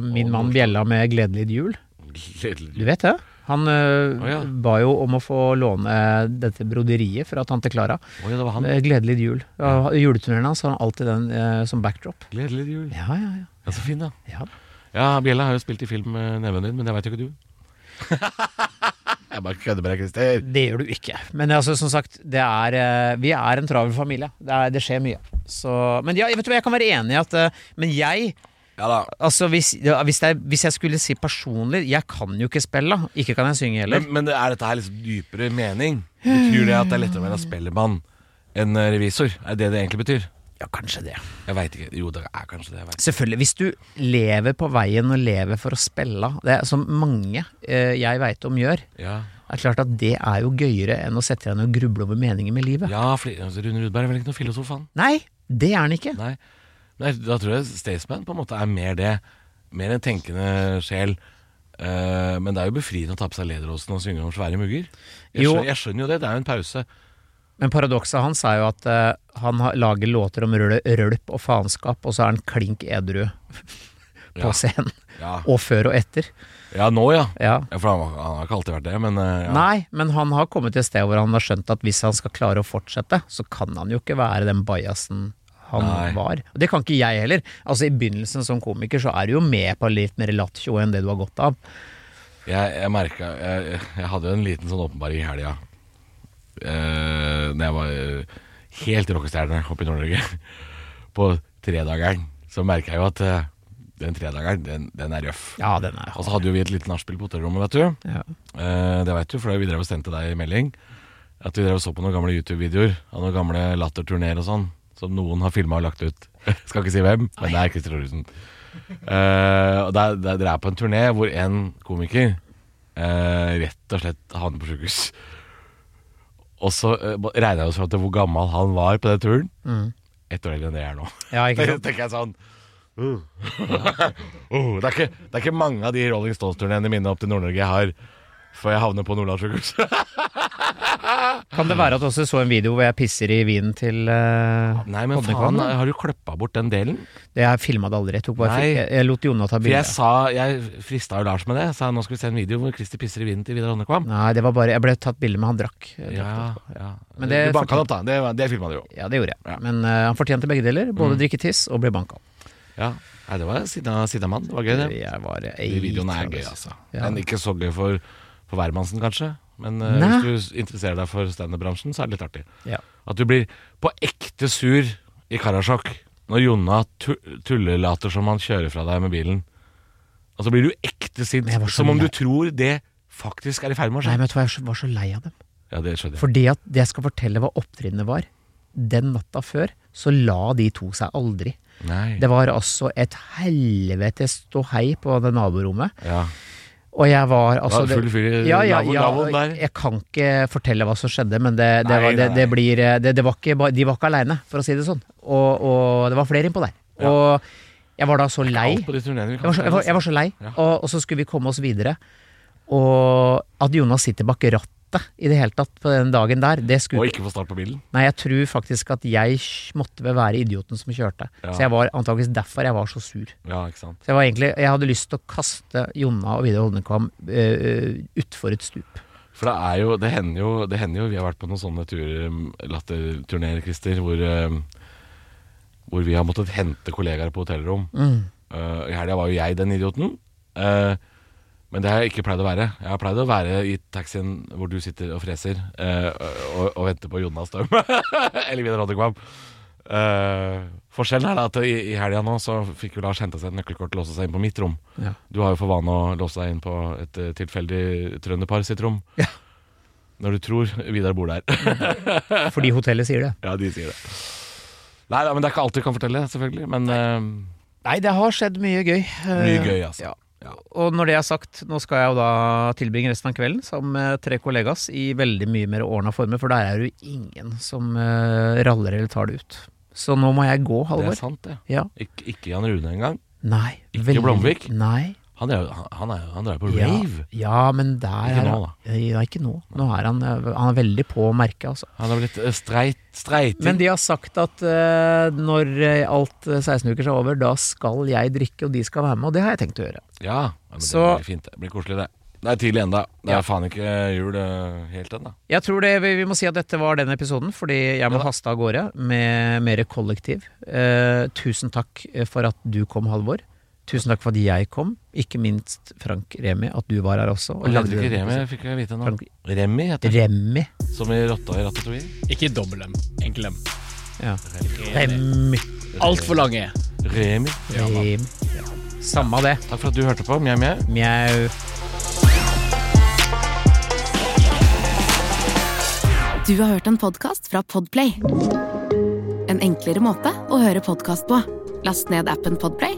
[SPEAKER 2] min
[SPEAKER 3] Og
[SPEAKER 2] mann
[SPEAKER 3] norsk.
[SPEAKER 2] bjella med 'Gledelig jul'. Du
[SPEAKER 3] Gledelig.
[SPEAKER 2] vet det? Han øh,
[SPEAKER 3] Å, ja.
[SPEAKER 2] ba jo om å få låne dette broderiet fra tante Klara.
[SPEAKER 3] Å ja, det var han.
[SPEAKER 2] Eh, 'Gledelig jul'. Og I juleturneen hans har han alltid den eh, som backdrop.
[SPEAKER 3] Gledelig jul.
[SPEAKER 2] Ja, ja, ja.
[SPEAKER 3] Ja, så fin, da.
[SPEAKER 2] ja.
[SPEAKER 3] Ja, Bjella har jo spilt i film med neven din, men det veit jo ikke du. jeg bare kødder med deg, Christer.
[SPEAKER 2] Eh, Det gjør du ikke. Men altså, som sagt, det er, eh, vi er en travel familie. Det, er, det skjer mye. Så, men ja, vet du hva, jeg kan være enig i at eh, Men jeg,
[SPEAKER 3] Ja da.
[SPEAKER 2] altså hvis, ja, hvis, jeg, hvis jeg skulle si personlig Jeg kan jo ikke spille. da. Ikke kan jeg synge heller.
[SPEAKER 3] Men, men er dette her liksom dypere mening? Betyr det at det er lettere å være spellemann enn eh, revisor? Er det det det egentlig betyr?
[SPEAKER 2] Ja, kanskje det.
[SPEAKER 3] Jeg veit ikke. Jo, det er kanskje det. Jeg vet. ikke.
[SPEAKER 2] Selvfølgelig. Hvis du lever på veien og lever for å spille, det er som mange eh, jeg veit om gjør,
[SPEAKER 3] Ja,
[SPEAKER 2] er klart at det er jo gøyere enn å sette deg ned og gruble over meningen med livet.
[SPEAKER 3] ja fordi, altså, Rune Rudberg er vel ikke noen filosof, han?
[SPEAKER 2] Nei, det er den ikke.
[SPEAKER 3] Nei. Nei, da tror jeg Staysman på en måte er mer det. Mer en tenkende sjel. Eh, men det er jo befriende å ta på seg lederåsen og synge om svære mugger. Jeg,
[SPEAKER 2] Jo.
[SPEAKER 3] skjønner, jeg skjønner jo det, det er jo en pause.
[SPEAKER 2] Men paradokset hans er jo at eh, han har- lager låter om røl- rølp og faenskap, og så er han klink edru på
[SPEAKER 3] Ja.
[SPEAKER 2] scenen.
[SPEAKER 3] Ja,
[SPEAKER 2] Og før og etter.
[SPEAKER 3] ja nå ja.
[SPEAKER 2] Ja.
[SPEAKER 3] ja. For han, var- han har ikke alltid vært det, men eh, ja.
[SPEAKER 2] Nei, men han har kommet til et sted hvor han har skjønt at hvis han skal klare å fortsette, så kan han jo ikke være den bajasen han
[SPEAKER 3] Nei.
[SPEAKER 2] var. Og det kan ikke jeg heller. Altså I begynnelsen som komiker så er du jo med på litt mer lattjo enn det du har godt av.
[SPEAKER 3] Jeg, jeg merka jeg, jeg hadde jo en liten sånn åpenbaring i helga. Uh, når jeg var eh, helt rockestjerne oppe i Nord-Norge. På tredageren. Så merka jeg jo at eh, den tredageren, den, den er røff.
[SPEAKER 2] Ja, den er
[SPEAKER 3] Og så hadde jo vi et lite nachspiel på hotellrommet, vet du.
[SPEAKER 2] ja.
[SPEAKER 3] Eh, det veit du, for vi drev og sendte deg melding. At vi drev og så på noen gamle YouTube-videoer av noen gamle latterturneer og sånn. Som noen har filma og lagt ut. Skal ikke si hvem, men det er Christer Thoresen. Eh, og der, der, dere er på en turné hvor en komiker eh, rett og slett havner på sjukehus. Og så uh, regna jeg oss fram til hvor gammel han var på den turen.
[SPEAKER 2] Mm.
[SPEAKER 3] Ett år eldre enn det jeg er nå.
[SPEAKER 2] ja, ikke
[SPEAKER 3] Da
[SPEAKER 2] sant?
[SPEAKER 3] tenker jeg sånn uh. uh, det, er ikke, det er ikke mange av de Rolling Stones-turneene mine opp til Nord-Norge jeg har før jeg havner på Nordlandssykehuset.
[SPEAKER 2] Kan det være at du også så en video hvor jeg pisser i vinen til eh,
[SPEAKER 3] Nei, men
[SPEAKER 2] Oddekallen,
[SPEAKER 3] faen,
[SPEAKER 2] da?
[SPEAKER 3] har du kløppa bort den delen?
[SPEAKER 2] Det jeg filma det aldri. Jeg, tok bare,
[SPEAKER 3] Nei.
[SPEAKER 2] jeg, jeg lot Jonna ta
[SPEAKER 3] For jeg
[SPEAKER 2] bilde.
[SPEAKER 3] sa, jeg frista jo Lars med det. Sa nå skal vi se en video hvor Christer pisser i vinden til Vidar Åndekvam.
[SPEAKER 2] Nei, det var bare Jeg ble tatt bilde med han drakk. Jeg drakk det.
[SPEAKER 3] Ja, ja.
[SPEAKER 2] Men det
[SPEAKER 3] du banka den opp, da. Det, det filma du jo.
[SPEAKER 2] ja, det gjorde jeg.
[SPEAKER 3] Ja. Mm.
[SPEAKER 2] Men eh, han fortjente begge deler. Både drikke tiss og bli banka.
[SPEAKER 3] Ja. Nei, det var sinna sinna mann. Det var gøy, det.
[SPEAKER 2] Jeg var
[SPEAKER 3] De videoene er
[SPEAKER 2] eitrende.
[SPEAKER 3] gøy, altså.
[SPEAKER 2] Ja.
[SPEAKER 3] Men ikke så gøy for, for hvermannsen, kanskje. Men eh,
[SPEAKER 2] Nei.
[SPEAKER 3] hvis du interesserer deg for standup-bransjen, så er det litt artig.
[SPEAKER 2] Ja.
[SPEAKER 3] At du blir på ekte sur i Karasjok når Jonna tu tullelater som han kjører fra deg med bilen. Og så blir du ekte sint,
[SPEAKER 2] Men jeg var så
[SPEAKER 3] som om du
[SPEAKER 2] lei-
[SPEAKER 3] tror det faktisk er i ferd med å
[SPEAKER 2] Nei,
[SPEAKER 3] skje.
[SPEAKER 2] men vet du hva, jeg var så lei av dem.
[SPEAKER 3] Ja, det skjønner jeg.
[SPEAKER 2] For det at det jeg skal fortelle hva opptrinnet var, den natta før, så la de to seg aldri.
[SPEAKER 3] Nei.
[SPEAKER 2] Det var altså et helvete ståhei på det naborommet.
[SPEAKER 3] Ja.
[SPEAKER 2] Og jeg var altså
[SPEAKER 3] var full fyr i
[SPEAKER 2] ja, ja,
[SPEAKER 3] lavvo-
[SPEAKER 2] ja,
[SPEAKER 3] lavvoen der.
[SPEAKER 2] Jeg kan ikke fortelle hva som skjedde, men det, det,
[SPEAKER 3] Nei,
[SPEAKER 2] var, det,
[SPEAKER 3] nei,
[SPEAKER 2] det
[SPEAKER 3] nei.
[SPEAKER 2] blir eh, det, det var ikke, ba- De var ikke aleine, for å si det sånn. Og, og det var flere innpå der.
[SPEAKER 3] Ja.
[SPEAKER 2] Og jeg var da så lei.
[SPEAKER 3] Alt på de turneene vi
[SPEAKER 2] Jeg var så, jeg var, jeg var så lei,
[SPEAKER 3] Ja.
[SPEAKER 2] og, og så skulle vi komme oss videre. Og at Jonas sitter bak rattet i det hele tatt på den dagen der, det
[SPEAKER 3] Og
[SPEAKER 2] skulle
[SPEAKER 3] ikke få start på bilen.
[SPEAKER 2] Nei, jeg tror faktisk at jeg sj- måtte vel være idioten som kjørte.
[SPEAKER 3] Ja.
[SPEAKER 2] Så jeg var antakeligvis derfor jeg var så sur.
[SPEAKER 3] Ja, ikke sant.
[SPEAKER 2] Så jeg var egentlig Jeg hadde lyst til å kaste Jonna og Vidar Holmenkollen uh, utfor et stup.
[SPEAKER 3] For det er jo Det hender jo, det hender jo vi har vært på noen sånne turer, mm, latterturneer, Christer, hvor, eh, hvor vi har måttet hente kollegaer på hotellrom. Eh, I helga var jo jeg den idioten. eh, men det har jeg ikke pleid å være. Jeg har pleid å være i taxien hvor du sitter og freser eh, og, og venter på Jonas Støm. Eller Vidar Oddekvam. Eh, forskjellen er da at i, i helga nå så fikk jo Lars henta seg et nøkkelkort og låse seg inn på mitt rom.
[SPEAKER 2] Ja.
[SPEAKER 3] Du har jo for vane å låse deg inn på et eh, tilfeldig trønderpar sitt rom.
[SPEAKER 2] Ja.
[SPEAKER 3] Når du tror Vidar bor der.
[SPEAKER 2] Fordi hotellet sier det.
[SPEAKER 3] ja, de sier det. Nei, da, men det er ikke alt vi kan fortelle, selvfølgelig. Men eh,
[SPEAKER 2] Nei, det har skjedd mye gøy. eh,
[SPEAKER 3] mye gøy, altså.
[SPEAKER 2] ja. Og når det er sagt, nå skal jeg jo da tilbringe resten av kvelden sammen med tre kollegas i veldig mye mer ordna former, for der er det jo ingen som eh, raller eller tar det ut. Så nå må jeg gå,
[SPEAKER 3] det
[SPEAKER 2] Halvor.
[SPEAKER 3] er sant, det.
[SPEAKER 2] Ja.
[SPEAKER 3] Ik ikke Jan Rune engang.
[SPEAKER 2] Nei.
[SPEAKER 3] Ikke Blomvik?
[SPEAKER 2] Nei.
[SPEAKER 3] Han dreier jo- han- han er jo- han dreier på
[SPEAKER 2] Ja,
[SPEAKER 3] rave.
[SPEAKER 2] ja, men der
[SPEAKER 3] Ikke
[SPEAKER 2] er
[SPEAKER 3] nå,
[SPEAKER 2] han Nei, Nei, ikke nå. Nå er han, eh, han er veldig på merket, altså.
[SPEAKER 3] Han er blitt eh, streit, streiting.
[SPEAKER 2] Men de har sagt at eh, når eh, alt eh, 16 uker er over, da skal jeg drikke, og de skal være med, og det har jeg tenkt å gjøre.
[SPEAKER 3] Ja, ja, men
[SPEAKER 2] Så-
[SPEAKER 3] det blir fint. Det blir koselig, det. Det er tidlig ennå. Det er
[SPEAKER 2] Ja.
[SPEAKER 3] faen ikke jul eh, helt ennå.
[SPEAKER 2] Jeg tror det, vi, vi må si at dette var den episoden, fordi jeg må
[SPEAKER 3] Ja da.
[SPEAKER 2] haste av gårde med mer kollektiv. Eh, tusen takk for at du kom, Halvor. Tusen takk for at jeg kom. Ikke minst Frank Remi, at du var her også. og
[SPEAKER 3] Jeg
[SPEAKER 2] lagde
[SPEAKER 3] heter ikke
[SPEAKER 2] den
[SPEAKER 3] Remi, fikk jeg vite nå.
[SPEAKER 2] Frank-
[SPEAKER 3] Remi heter det.
[SPEAKER 2] Remi.
[SPEAKER 3] Som i rotta i ratatouille.
[SPEAKER 5] Ikke dobbel M. Enkel M.
[SPEAKER 2] Ja. Remi.
[SPEAKER 5] Altfor lang E.
[SPEAKER 3] Remi.
[SPEAKER 5] Ja, da.
[SPEAKER 2] Remi. Samme det.
[SPEAKER 3] Takk for at du hørte på. Mjau, mjau.
[SPEAKER 2] Mjau.
[SPEAKER 6] Du har hørt en podcast fra Podplay En enklere måte å høre podcast på Last ned appen Podplay